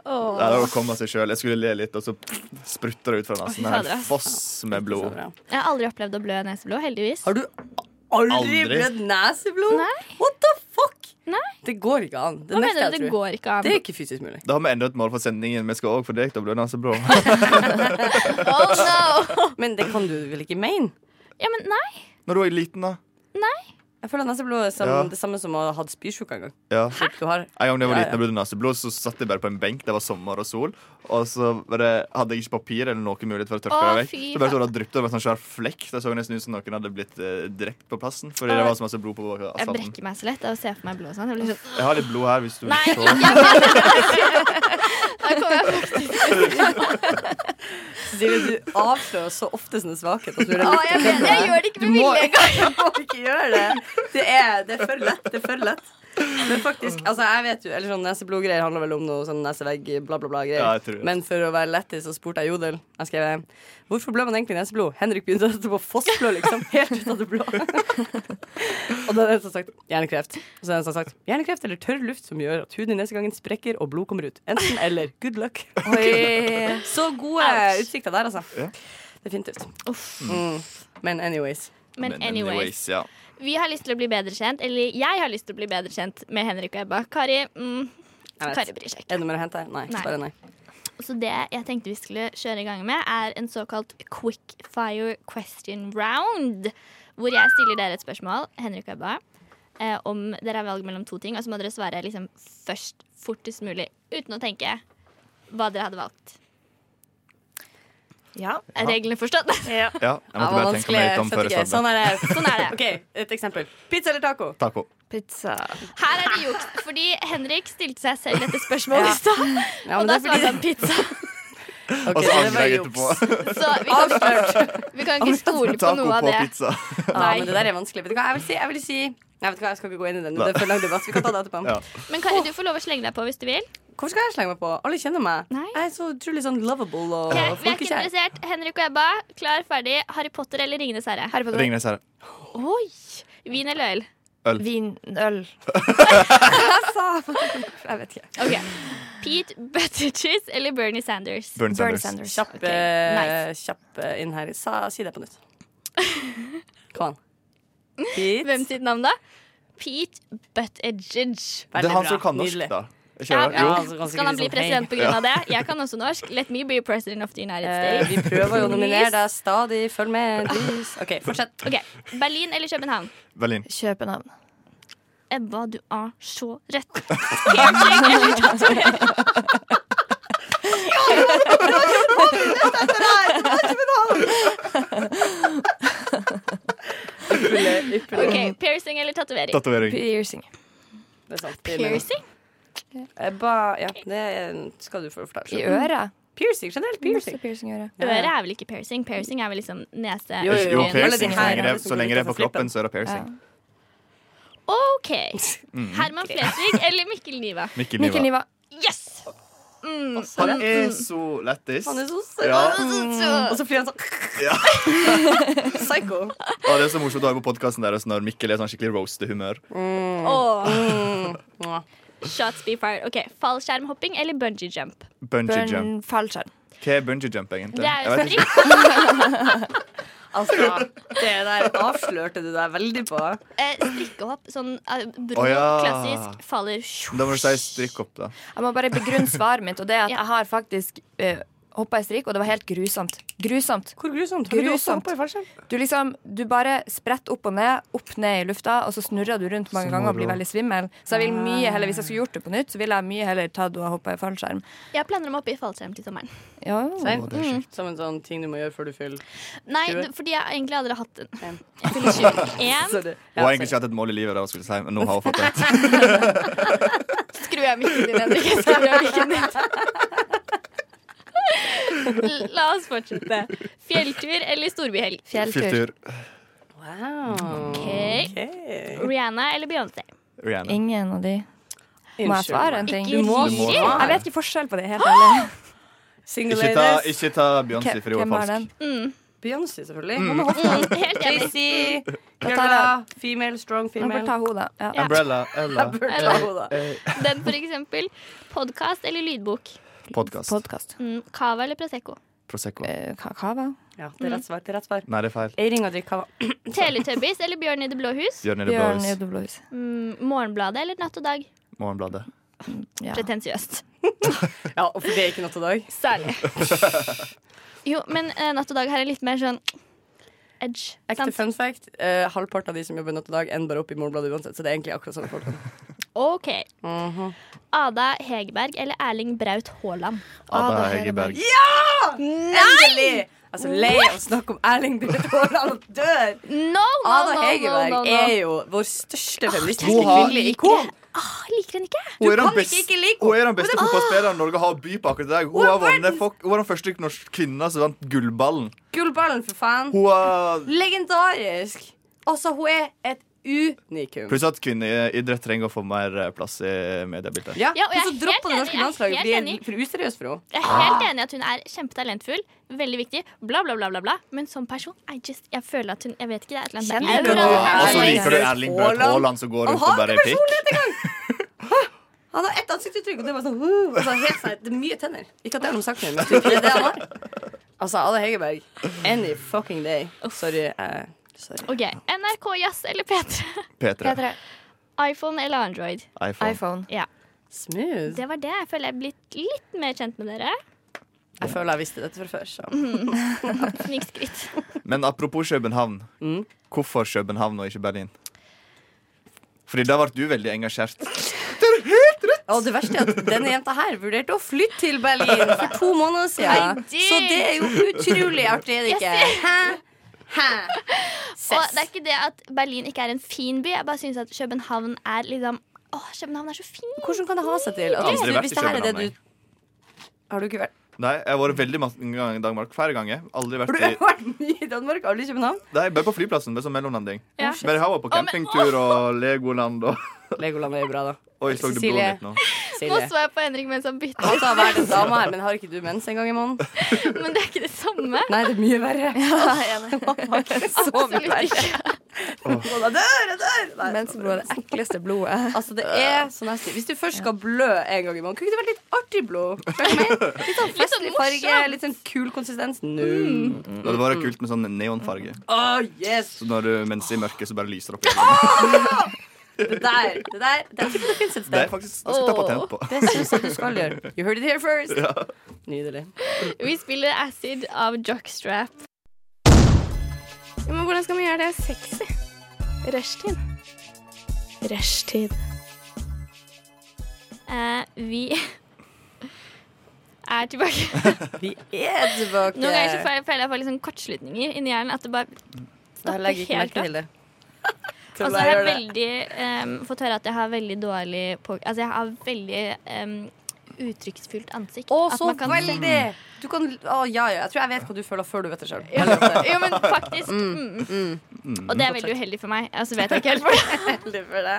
Åh. Nei, det kom av seg selv. Jeg skulle le litt, og så sprutter det ut fra nesen. Oi, fader, Her ass. foss med Så blod. bra. Jeg har aldri opplevd å blø neseblod, heldigvis. Har du aldri Aldri. blødd neseblod? Nei. What the fuck? Det går ikke an. Det Hva nekter mener jeg du? å Det tro. går ikke Det an. er ikke fysisk mulig. Da har vi enda et mål for sendingen. Vi skal òg få deg til å bli dansebro. (laughs) (laughs) Oh (laughs) no! Men det kan du vel ikke mene? Ja, men nei. Når du var liten, da. Jeg føler neseblod er som, Ja. det samme som å ha hatt spysjuke en gang. Ja. Du (laughs) har En gang da jeg var Ja, liten og ble naseblod, så satt jeg bare på en benk. Det var sommer og sol. Og så var det, hadde jeg ikke papir eller noe mulighet for å tørke Å, det vekk. fy Så bare så det dryppet over en sånn svær flekk. Det så nesten ut som noen hadde blitt eh, drept på plassen. Fordi det var så masse blod på Jeg asfalten. brekker meg så lett av å se for meg blod og sånn. Jeg blir (laughs) sånn Jeg har litt blod her, hvis du Nei, vil se. Da kommer jeg på Cecilie, du avslører så ofte sånne svakheter. at du er Å, litt- jeg mener jeg gjør det ikke Du med må, vilje engang. du må ikke gjøre det. Det er, det er for lett. Det er for lett. Men faktisk, altså jeg vet jo Eller sånn neseblodgreier handler vel om noe sånn nesevegg, bla, bla, bla. greier Ja, jeg tror det. Men for å være lettis, så spurte jeg Jodel. Jeg skrev Hvorfor blør man egentlig neseblod? Henrik begynte etterpå å fossblø, liksom. (laughs) Helt ut av det blå. Og da er det en som har sagt hjernekreft. Og så er det en som har sagt hjernekreft eller tørr luft som gjør at huden i nesegangen sprekker og blod kommer ut. Enten eller. Good luck. (laughs) Oi. Så gode Ouch. utsikter der, altså. Ja. Det er fint ut. Mm. Men anyways. Men anyways. ja. Vi har lyst til å bli bedre kjent, eller jeg har lyst til å bli bedre kjent med Henrik og Ebba. Kari mm, Jeg vet. Kari bryr seg Er ikke. det noe mer å hente? Nei. Nei. Bare nei. Så det jeg tenkte vi skulle kjøre i gang med, er en såkalt quickfire question round. Hvor jeg stiller dere et spørsmål, Henrik og Ebba, eh, om dere har valg mellom to ting. Og så må dere svare liksom først, fortest mulig, uten å tenke hva dere hadde valgt. Ja. Er reglene forstått? (laughs) ja. Jeg måtte bare tenke meg litt om før jeg Sånn svarte. er det. Sånn er det. OK, et eksempel. Pizza eller taco? Taco. Pizza. Her er det juks, fordi Henrik stilte seg selv dette spørsmålet i stad. Ja, Og men da det er svarte fordi- han (laughs) pizza. Ok, Og så det var angrer jeg juks. (laughs) etterpå. Så vi kan, (laughs) vi kan ikke stole på Taco noe av på det. pizza. Ja, men det der er vanskelig. Vet du hva, jeg vil si, jeg vil si Nei, vet du hva, jeg skal ikke gå inn i den. Det er for lang debatt. Vi kan ta det etterpå. (laughs) Ja. Men Kari, du får lov å slenge deg på hvis du vil. Hvorfor skal jeg slenge meg på? Alle kjenner meg. Nei. Jeg er så utrolig sånn lovable og Ok, vi er ikke folkekjær. interessert. Henrik og Ebba, klar, ferdig. Harry Potter eller Ringenes herre? Harry Potter. Ringnes her. Oi! Vin eller øl? Vin. Øl. Jeg vet ikke. Ok. Pete Buttigieg eller Bernie Sanders? Bernie Bernie Sanders. Sanders. Kjapp, Ok, eh, kjapp eh, inn her. Sa, si det på nytt. Kom an. Hit. Hvem sitt navn, da? Pete Buttigieg. Veldig Det er han bra. som kan norsk, Nydelig. da. Ikke Ja, det? ja. Jo. altså, ganske Skal han bli liksom, president pga. det? Jeg kan også norsk. Let me be president of the United Eh, States. vi prøver jo å nominere deg stadig. Følg med. Lys. OK, fortsett. Ok, Berlin eller København? Berlin. København. Ebba, du er så rett. Piercing eller tatovering? Ok, piercing eller tatovering? Tatovering. Piercing. Det er sant. det er meningen. Piercing? Ebba, ja, det er- skal du få forklare. I selv. øret. Piercing, generelt piercing. Masse piercing i øret. Øret er vel ikke piercing? Piercing er vel liksom nese Jo, Jo, Alle de piercing. Så her lenge det, er liksom så lenge det er på utenfor kroppen, så er det piercing. OK. Mm. Herman Flesvig eller Mikkel Niva? Mikkel Mikkel Niva. Niva. Yes! Mm. Han er så lættis. Han er så søt. Ja. Og så flyr han sånn. (laughs) Ja. Psycho. Og det er så morsomt å høre på podkasten deres når Mikkel er sånn skikkelig roast-humør. Åh, Ja. Mm. Shots be fired. OK, fallskjermhopping eller bungee jump? Bungee jump. Burn fallskjerm. Hva er bungee jump, egentlig? Det er Jeg jo vet ikke. spring. Altså, det der avslørte du deg veldig på. Eh, strikkehopp. Sånn eh, bro, Å, ja. klassisk, faller Da må du si strikk opp, da. Jeg må bare begrunne svaret mitt, og det er (laughs) at jeg har faktisk uh, hoppa i strikk, og det var helt grusomt. Grusomt. Hvor grusomt. Har du også hoppet i Du liksom, du bare spretter opp og ned, opp ned i lufta, og så snurrer du rundt mange ganger og blir veldig svimmel. Så jeg vil mye heller, hvis jeg skulle gjort det på nytt, så ville jeg mye heller tatt og hoppa i fallskjerm. Jeg planer om å hoppe i fallskjerm til sommeren. Ja. Mm. Sein, det er kjekt. Som en sånn ting du må gjøre før du fyller Nei, Tjue. det- fordi jeg egentlig aldri har hatt en. En. Jeg fyller (laughs) 21. Hun har Sorry. Ja, egentlig sorry. ikke hatt et mål i livet, da, skulle jeg si, men nå har hun fått det. Skru av mikken din, Henrik. Jeg Skrur av mikken din. La oss fortsette. Fjelltur eller storbyhelg? Fjelltur. Fjelltur. Wow. Ok. Ok. Rihanna eller Beyoncé? Rihanna. Ingen av de. Må jeg svare en ting? Ikke må- Riri. Jeg vet ikke forskjell på det, helt ærlig. Single Ikke ta, ladies. ikke ta Beyoncé, Hvem- for hun Hvem er var den? falsk. Beyoncé, selvfølgelig. Hun må Mm, helt enig. JC, tar jeg- Girla, female, strong Jeg får female. ta hodet. Ja. Ja. Umbrella Ella. Eh, Jeg burde ta henne, da. Den, for eksempel. Podkast eller lydbok? Podkast. Podkast. Mm, Cava eller Prosecco? Prosecco. Eh, ka- Kava? Ja, det er rett svar. Det er rett svar. Nei, det er feil. Eiring og drikk kava. Teletubbies eller Bjørn i det blå hus? Bjørn i det blå Bjørn i hus. det blå huset. Mm, morgenbladet eller Natt og dag? Morgenbladet. Ja. Pretensiøst. Ja, og for det er ikke natt og dag. Særlig. Jo, men eh, Natt og dag her er litt mer sånn edge. Ekte Sant? fun fact. eh, halvparten av de som jobber natt og dag, ender bare opp i Morgenbladet uansett. Så det er egentlig akkurat sånne folk. OK. Mhm. Ada Hegerberg eller Erling Braut Haaland? Ada Hegerberg. Endelig! Altså, lei av å snakke om Erling Braut Haaland og dør. No, no, Ada no, Hegerberg Eh. no, no, no. er jo vår største feministiske Hun har- kvinnelige ikon. Ah, jeg liker henne ikke. Hun er den kan best- ikke ikke like hun er den beste fotballspilleren Norge har å by på akkurat i dag. Hun, er har vunnet folk- hun var den første norske kvinna som vant gullballen. Gullballen, for faen. Hun har Legendarisk. Altså, hun er et unikum. Pluss at kvinneidrett trenger å få mer eh, plass i mediebildet. Ja, Ja, og men jeg så er helt dropp det norske enig, jeg er landslaget. helt fordi De enig. er for useriøse for henne. Jeg er helt enig i at hun er kjempetalentfull, veldig viktig, bla, bla, bla. bla, bla. Men som person, I just, jeg føler at hun Jeg vet ikke, det er et eller annet Kjenner der. du Jeg henne? Og føler- så Erling liker du Braut Erling Braut Haaland. Haaland som går Han rundt og har bærer ikke pikk. personlighet engang! (laughs) Han har ett ansiktsuttrykk, og det var sånn, uh, og så helt sånn Det er mye tenner. Ikke at det er noe sagt med, men det er det han har. Altså, Ada Hegerberg. Any fucking day. Sorry. eh, sorry. OK. NRK Jazz eller P3? P3. P3. iPhone eller Android? iPhone. iPhone. Smooth. Det var det. Jeg føler jeg er blitt litt mer kjent med dere. Jeg føler jeg visste dette fra før. Så. Snikskritt. Men apropos København. Mm. Hvorfor København og ikke Berlin? Fordi da ble du veldig engasjert. Og det verste er at denne jenta her vurderte å flytte til Berlin for to måneder siden. Nei, det- Så det er jo utrolig artig, er det ikke? Hæ? Hæ? Og det er ikke det at Berlin ikke er en fin by. Jeg bare syns at København er liksom Åh, København er så fin! Hvordan kan det ha seg til? Jeg At har hvis, aldri du, vært hvis i det her er det København. du jeg. Har du ikke vært Nei, jeg har vært veldig mange ganger i Danmark. Flere ganger. Aldri Har vært du i vært mye i Danmark? Aldri i København? Nei, bare på flyplassen. Bare som mellomlanding. Mm. Ja. Bare jeg har vært på Å, men- campingtur og Legoland og Legoland er jo bra, da. Oi, så du blodet Cecilie. mitt nå? Nå Silje. så jeg på Henrik mens (laughs) han bytta, Altså, verdens dame her, men har ikke du mens en gang i måneden? men det er ikke det samme. Nei, det er mye (laughs) verre. Absolutt ikke. Jeg dør, jeg dør! Nei. Mensenblod er det ekleste blodet. Altså, det er så nasty. Hvis du først skal blø en gang i måneden, kunne ikke det vært litt artig blod? Følg med. (laughs) Litt sånn festlig farge, litt sånn kul konsistens. Null. Det hadde vært kult med sånn neonfarge. Åh, (laughs) yes! Så når du mens i mørket, så bare (laughs) lyser det opp. Det der, det der, det der det finnes et Det er sted. faktisk det skal jeg ta patent på. Det syns jeg du skal gjøre. You heard it here first. Nydelig. (laughs) Vi spiller Acid av Jockstrap. Men hvordan skal man gjøre det sexy? Rushtid. Rushtid. Eh, vi (laughs) er tilbake. Vi er tilbake. Noen ganger så fe- føler jeg jeg får litt sånn kortslutninger inni hjernen. At det bare Jeg legger ikke merke til det. Og så har Altså, jeg veldig em, fått høre at jeg har veldig dårlig på, Altså jeg har veldig em, uttrykksfullt ansikt. Å, At så man kan- veldig! Du kan, å, ja, ja. Jeg tror jeg vet hva du føler før du vet det sjøl. Ja, (laughs) jo, men faktisk. Mm. Og det er veldig uheldig for meg. Altså vet jeg ikke helt for det.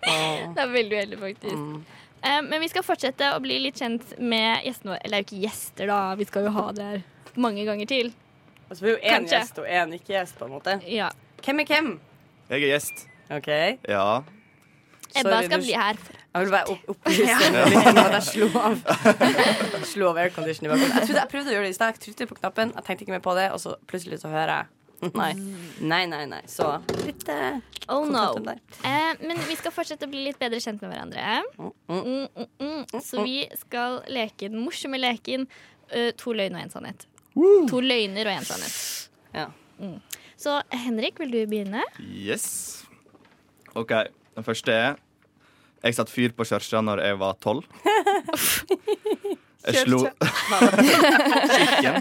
Det er veldig uheldig, faktisk. Mm. Eh, men vi skal fortsette å bli litt kjent med gjestene våre. Eller det er jo ikke gjester, da. Vi skal jo ha det her mange ganger til. Altså, vi er jo én Kanskje. gjest og én ikke-gjest, på en måte. Ja. Hvem er hvem? (laughs) Jeg er gjest. OK. Ja. Ebba Sorry, skal du- bli her. Jeg vil være opp opplyst litt om at jeg slo av (laughs) Slo av aircondition i bakgrunnen. Jeg, trodde- jeg prøvde å gjøre det i stad. Jeg trykte på knappen, jeg tenkte ikke mer på det, og så plutselig så hører jeg Nei. Nei, nei, nei. Så litt eh, Oh no. kontakt der. Eh, men vi skal fortsette å bli litt bedre kjent med hverandre. Mm, mm, mm. Så vi skal leke den morsomme leken eh, to løgn og en sannhet. To løgner og en sannhet. Mm. Ja. Så Henrik, vil du begynne? Yes. OK. Den første er Jeg satte fyr på kirka når jeg var tolv. Jeg slo Kirken.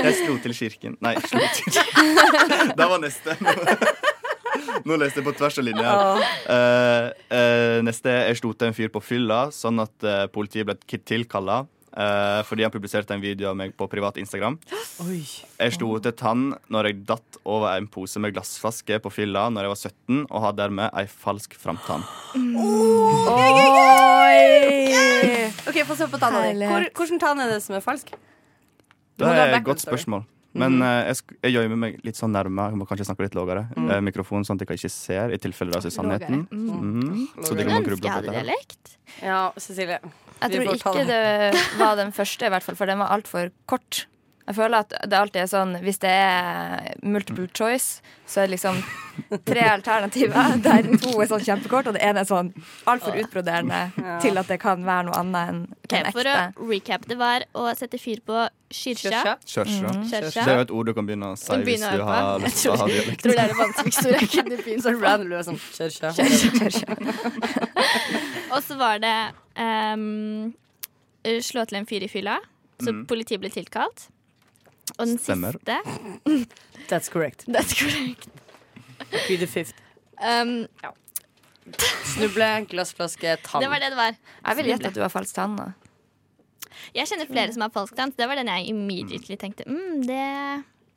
Jeg slo til kirken. Nei, slo til (laughs) Det var neste. Nå leste jeg på tvers av linja. Eh, eh, neste Jeg slo til en fyr på fylla, sånn at eh, politiet ble tilkalla. fordi han publiserte en video av meg på privat Instagram. Oi. Jeg slo til tann når jeg datt over en pose med glassflaske på fylla når jeg var 17, og har dermed ei falsk framtann. Oi! OK, få se på tanna di. Herlighet. Hvor, hvordan tann er det som er falsk? Det må du ha er et background godt story. spørsmål. Men eh, jeg, sk- jeg gjemmer meg litt sånn nærme. Jeg må kanskje snakke litt lavere. Eh, mikrofonen, sånn at jeg ikke ser, i tilfelle det er sannheten. Mhm. Så det kan man Ønsker gruble jeg på. hadde Det. dialekt. Ja, Cecilie. Jeg Vi tror får ta ikke det var den første, i hvert fall, for den var altfor kort. Jeg føler at det alltid er sånn hvis det er multiple choice, så er det liksom tre (laughs) alternativer der to er sånn kjempekort, og det ene er sånn altfor utbroderende til at det kan være noe annet enn Ok, enn For å ekte. recap, det var å sette fyr på Kyrkja. Kjørsja. Kjørsja. Mhm. Det er Kjørsja. jo et ord du kan begynne å si Som hvis begynner å du øve har på. Jeg lyst til å ha tror, dialekt. tror det er det vanskeligste ordet jeg kunne finne. Sånn random du er sånn Kjørsja. Og så var det ehm, slå til en fyr i fylla, så politiet ble tilkalt. Og den Mm. Stemmer. siste (laughs) That's correct. That's correct. Be the fifth. Ehm, Snuble, glassflaske, tann. det var det det var. Jeg vil gjette at du har falsk tann. da. Jeg kjenner flere som har falskdans. Det var den jeg immediately tenkte mm, det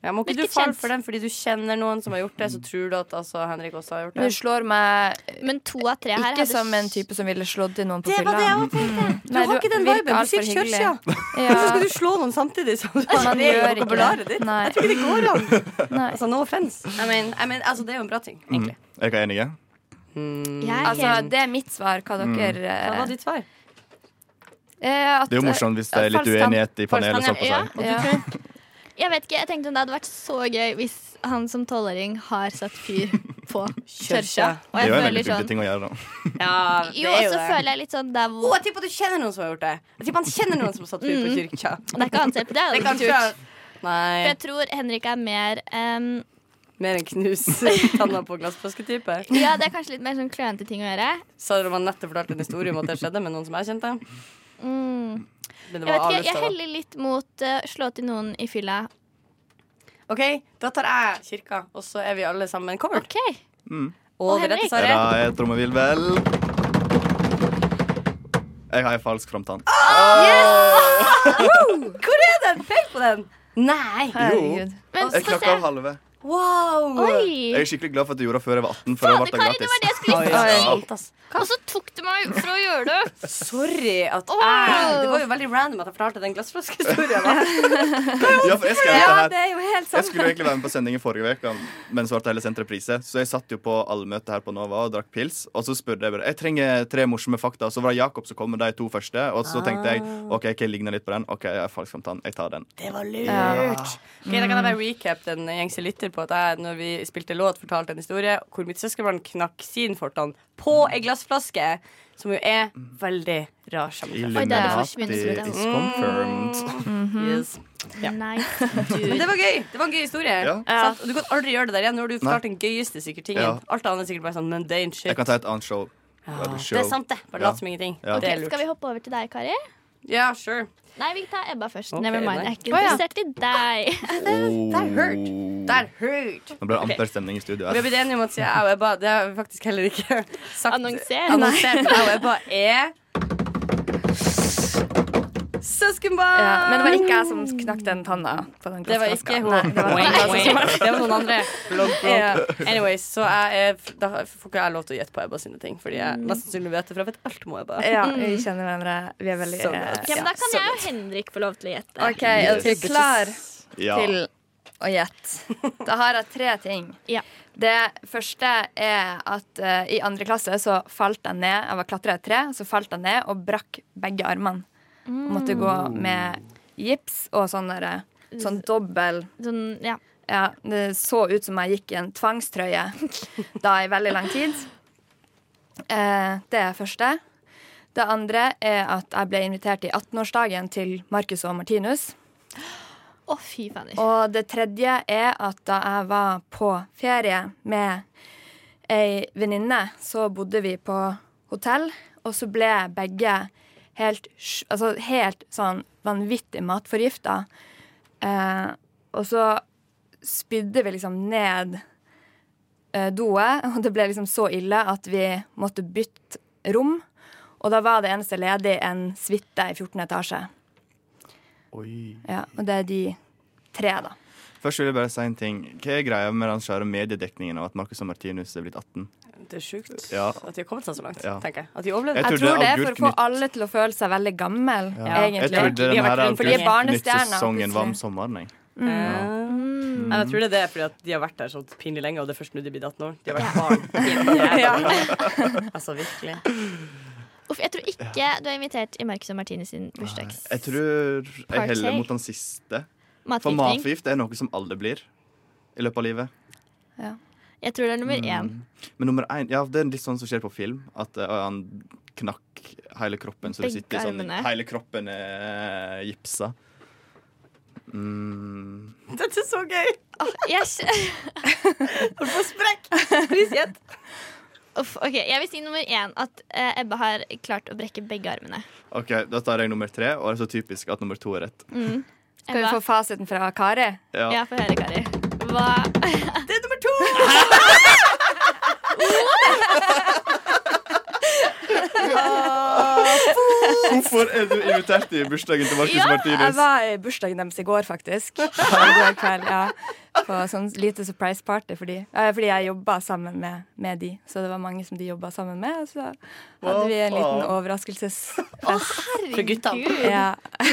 Ja, må ikke Virker du falle kjent. for den fordi du kjenner noen som har gjort det, så tror du at altså, Henrik også har gjort Men det? Du slår meg Men to av tre her ikke som en type som ville slått til noen på Det fylla. var det jeg også tenkte. Du Nei, har du ikke den virker viben. Du sier altfor hyggelig. Kjørsja. (laughs) Ja. Hvorfor skal du slå noen samtidig som du har (laughs) Man det i gjør ikke vokabularet det. ditt? Nei. Jeg tror ikke det går an. Nei. Altså, no offense. I mean, I mean, altså, det er jo en bra ting, Mm. egentlig. Er dere enige? Jeg er Altså, helt- det er mitt svar. Hva Mm. dere Hva eh, var ditt svar? eh, at- Det er jo morsomt hvis det er litt Falsk tann. uenighet i panelet. Falsk Så tann, på seg. Ja. Jeg vet ikke, jeg tenkte det hadde vært så gøy hvis han som tolvåring har satt fyr på kjørsja. Og Det er jeg jo en veldig føler hyggelig sånn ting å gjøre. da. Ja, det Jo, er og jo så det. føler jeg litt sånn der Å, hvor jeg tipper at du kjenner noen som har gjort det. Jeg tipper han kjenner noen som har satt fyr på kyrkja. Det er ikke hans hjelp, det hadde Det jeg kan ikke gjort. For Nei, jeg tror Henrik er mer ehm, mer enn knus (laughs) tanna på glassflaske-type. Ja, det er kanskje litt mer sånn klønete ting å gjøre. Sa dere om han nettopp fortalte en historie om at det skjedde med noen som jeg kjente? Mm. Men det Jeg vet var ikke, jeg avlufta, da. heller litt mot eh, slå til noen i fylla. OK, da tar jeg kirka, og så er vi alle sammen covered. OK. Og Og det rette Henrik. svaret Ja, jeg trommevill vel. Jeg har en falsk framtann. (laughs) Hvor er den? Pek på den! Nei. Herregud. Men Jeg få knakk av se. halve. Wow. Oi. Jeg er skikkelig glad for at du gjorde det før jeg var 18. For det Fader, ble Kari, det var det gratis. jeg skulle si! Alt, ass. Og så tok du meg fra å gjøre det. Sorry at Wow. jeg Det var jo veldig random at jeg fortalte den glassflaskehistorien. da. Ja, for jeg skrev dette (laughs) Ja, her. det er jo helt Jeg sant. skulle jo egentlig være med på sending i forrige uke, men så ble det heller sendt reprise. Så jeg satt jo på allmøte her på Nova og drakk pils, og så spurte jeg bare Jeg trenger tre morsomme fakta. Så var det Jakob som kom med de to første, og så tenkte jeg Ah. OK, jeg ligner litt på den. OK, jeg er falsk framtann. Jeg tar den. Det var lurt. Ok, da kan jeg bare recap den gjengse lytter på at jeg når vi spilte låt, fortalte en historie hvor mitt søskenbarn knakk sin fortann på ei glassflaske, som jo er veldig rar sammenheng. forsvinner så vidt. is Ah. confirmed. Yes. (laughs) Ja. Nice, Men dude. det var gøy. Det var en gøy historie. Ja. Sant? Og du kan aldri gjøre det der igjen. Nå har du fortalt den gøyeste sikkert tingen. Ja. Alt annet er sikkert bare sånn mundane shit. Jeg kan ta et annet show. Ah. Eller Det show. er sant, det. Bare Ja. lat som ingenting. Ja. Det er Ok, lurt. Skal vi hoppe over til deg, Kari? Ja, sure. Nei, vi tar Ebba først. Ok, Never mind. nei. Jeg er ikke interessert i deg. (laughs) Oh. That hurt. That hurt. Nå ble det amper stemning i studio. Vi har her. blitt enige om at jeg og Ebba Det har vi faktisk heller ikke (laughs) sagt. Annonser. Annonsert. Jeg og Ebba er Søskenbarn! Ja, men det var ikke jeg som knakk den tanna. På den Det var glassflaska. ikke hun. Nei, det var Altså, som- det var noen andre. Ja. Anyways, så jeg, er- da får ikke jeg lov til å gjette på Ebba sine ting, fordi jeg mest sannsynlig vet det, for jeg vet alt om Ebba. (laughs) Ja, vi kjenner hverandre. Vi er veldig Mm. Så eh, godt. Ok, men ja. da kan jeg og Henrik få lov til å gjette. OK, er dere Yes. klar Ja. til å gjette? (laughs) Da har jeg tre ting. Ja. Det første er at eh, i andre klasse så falt jeg ned. Jeg var klatra i et tre, så falt jeg ned og brakk begge armene. Og måtte gå Mm. med gips og sånn derre Sånn dobbel Sånn, ja. Ja, det så ut som jeg gikk i en tvangstrøye da i veldig lang tid. Eh, det er første. Det andre er at jeg ble invitert i 18-årsdagen til Marcus og Martinus. Å, fy fader. Og det tredje er at da jeg var på ferie med ei venninne, så bodde vi på hotell, og så ble begge helt, sj- altså helt sånn vanvittig matforgifta. Eh, og så spydde vi liksom ned eh, doet, og det ble liksom så ille at vi måtte bytte rom. Og da var det eneste ledig en suite i 14. etasje. Oi. Ja, og det er de tre, da. Først vil jeg bare si en ting. Hva er greia med den svære mediedekningen av at Marcus og Martinus er blitt 18? Det er sjukt Ja. at de har kommet seg så langt, Ja. tenker jeg. At de overlevde. Jeg Jeg tror det er for å få Agurknytt- alle til å føle seg veldig gammel, Jeg egentlig. trodde Vi den har her vært rundt fordi jeg er barnestjerna, Agurknytt-sesongen var om plutselig. sommeren. Jeg. Mm. Jeg tror det er det fordi at de har vært der så pinlig lenge, og det er først nå de blir 18 år. De har vært barn. Altså virkelig. Uff, jeg tror ikke du er invitert i Marcus og Martine sin bursdags... jeg tror jeg Partake. heller mot den siste. For Matforgiftning. matforgift er noe som alle blir i løpet av livet. Jeg tror det er Mm. nummer én. Men nummer én ja, det er litt sånn som skjer på film. At eh, han knakk hele kroppen, så du Begge sitter sånn armene. Hele kroppen er gipsa. Mm. Dette er så gøy! (laughs) Jeg kj- Hvorfor sprekk? Uff, ok, jeg vil si nummer én at eh, Ebba har klart å brekke begge armene. OK, da tar jeg nummer tre, og det er så typisk at nummer to er rett. Skal vi Ebba, få fasiten fra Kari? Ja. ja, få høre, Kari. Hva Det er nummer to! Hvorfor er du invitert i bursdagen til Marcus Jeg Martinus? var i bursdagen deres i går, (laughs) faktisk. I går kveld, ja. På sånn lite surprise party fordi, eh, fordi jeg jobba sammen med, med de. Så det var mange som de jobba sammen med. Og så hadde vi en liten faen? overraskelsesfest. For guttene. Ja.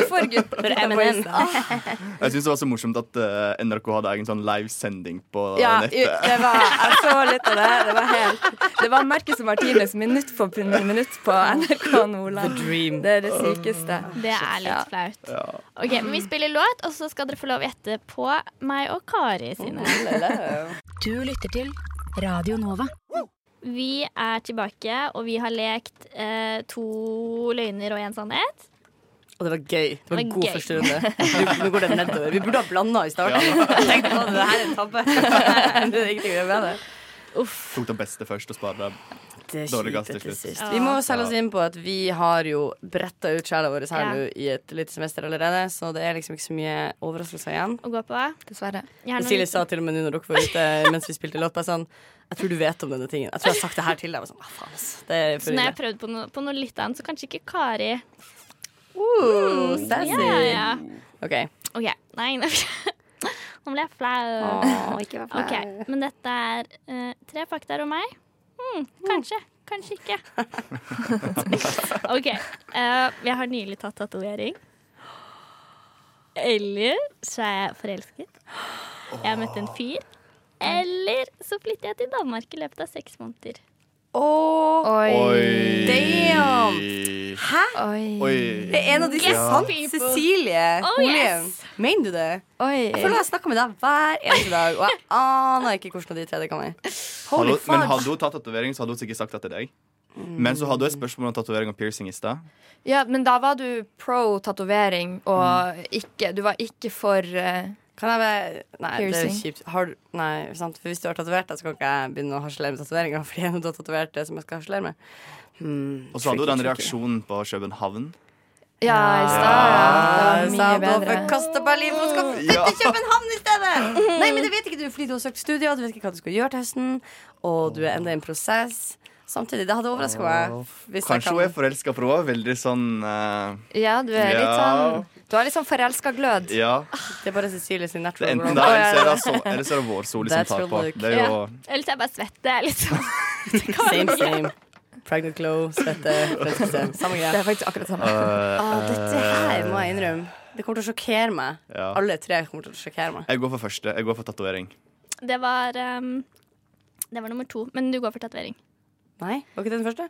For gutt, For M&M. Jeg syns det var så morsomt at eh, NRK hadde egen sånn livesending på Ja, jo, nettet. det var, jeg så litt av det. Det var, helt, det var Marcus og Martinus minutt for minutt på NRK Nordland. Dream. Det er det sykeste. Det er litt Ja. flaut. Ok, men Vi spiller låt, og så skal dere få lov å gjette på meg og Kari sine. Du lytter til Radio Nova. Vi er tilbake, og vi har lekt eh, to løgner og én sannhet. Og det var gøy. Det var en Det var god gøy. første runde. Nå- Nå går det nedover. Vi burde ha blanda i starten. (laughs) Jeg tenkte på det her er en tabbe. det er ingenting å gjøre med det. Tok det beste først og sparte det. Det er Dårlig gass kjipt til etter slutt. sist. Vi må selge oss inn på at vi har jo bretta ut sjela vår her Ja. nå i et lite semester allerede, så det er liksom ikke så mye overraskelser igjen. Å gå på. Dessverre. Jeg har noen- Cecilie sa til og med nå når dere var ute mens vi spilte låt, bare sånn Jeg tror du vet om denne tingen. Jeg tror jeg har sagt det her til deg. Jeg var Sånn, ah, faen, ass. Det er så for når ille. Sånn jeg prøvde på noe, på noe litt annet, så kanskje ikke Kari. Uh, Ja, sassy. ja, ja. OK. OK. Nei, (laughs) nå nå ble jeg flau. Ok, Men dette er eh, tre fakta om meg. Hmm, kanskje. Kanskje ikke. (laughs) OK. eh, jeg har nylig tatt tatovering. Eller så er jeg forelsket. Jeg har møtt en fyr. Eller så flytter jeg til Danmark i løpet av seks måneder. Åh, Oi. damn! Hæ? Oi. Oi. Det er en av de som Yes, er sant. people. Cecilie Oh, Holien. yes. Mener du det? Oi. Jeg føler jeg snakker med deg hver eneste dag, og jeg aner ikke hvordan av de tre det kan være. Hadde, Holy hun- men fuck. hadde hun tatt tatovering, så hadde hun sikkert sagt det til deg. Men så hadde hun et spørsmål om tatovering og piercing i stad. Ja, men da var du pro tatovering, og ikke, du var ikke for eh, Kan jeg bare Nei, det er Piercing. kjipt. Har du Nei, sant. For hvis du har tatovert deg, så kan ikke jeg begynne å harselere med tatoveringa, fordi du har tatovert det som jeg skal harselere med. Hmm, Og så hadde hun tricky, den tricky. reaksjonen på København. Ja, i stad. Ja. Ja, Det sa var at mye hun bedre. forkasta Berlin, for hun skal flytte Ja. til København i stedet! Nei, men det vet ikke du, fordi du har søkt studier, du vet ikke hva du skal gjøre til høsten, og du er enda i en prosess. Samtidig, det hadde overraska meg. Hvis jeg Kanskje kan hun er forelska, for hun er veldig sånn eh, Ja, du er litt Ja. sånn Du har litt sånn forelska glød. Ja. liksom Det er bare Cecilie sin Det er natural enten glow. det, eller så er det, sol, eller så er det vårsol som That's tar real på. look. Det er jo Eller så er jeg bare svett. Det er litt sånn. Same, (laughs) same. Pregnant glow, svette, frelseskrem. Samme Det greie. er faktisk akkurat det samme. eh, dette her må jeg innrømme. Det kommer til å sjokkere meg. Ja. Alle tre kommer til å sjokkere meg. Jeg går for første. Jeg går for tatovering. (laughs) Det var ehm, Det var nummer to. Men du går for tatovering. Nei, var ikke det den første?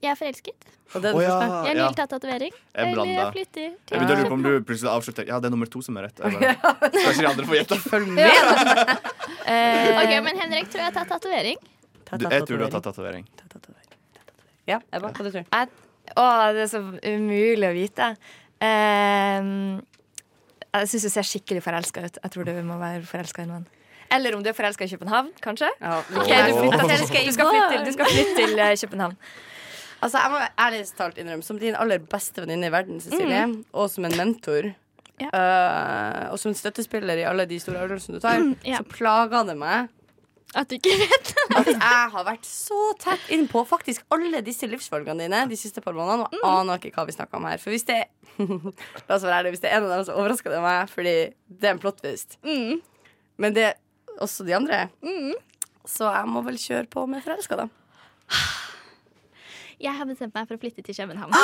Jeg er forelsket. Og det er Å, ja, den første. Jeg har ja. nylig tatt tatovering. Jeg Eller jeg blanda. flytter Jeg til begynte å lure på om du plutselig avsluttet Ja, det er nummer to som er rett. Jeg bare, Skal ikke de andre få gjette? Følg med! Eh, Ok, men Henrik tror jeg har tatt tatovering. Du, jeg tror du har tatt tatovering. Ja, Ebba, hva du tror jeg, å, det er så umulig å vite. Ehm, jeg syns du ser skikkelig forelska ut. Jeg tror du må være forelska i noen. Eller om du er forelska i København, kanskje. Ja, Ok, jeg du, tror- flytter, til- du, skal flytte, til- du skal flytte til eh, København. Altså, jeg må ærlig talt innrømme, som din aller beste venninne i verden, Cecilie, og som en mentor, øh, og som en støttespiller i alle de store avgjørelsene du tar, ja. så plager det meg At du ikke vet. at jeg har vært så tett innpå faktisk alle disse livsvalgene dine de siste par månedene, og aner ikke hva vi snakker om her. For hvis det (laughs) La oss være ærlige, hvis det er en av dem, så overrasker det meg, fordi det er en plottvist. Men det er også de andre. Så jeg må vel kjøre på med forelska, da. (laughs) Jeg har bestemt meg for å flytte til København.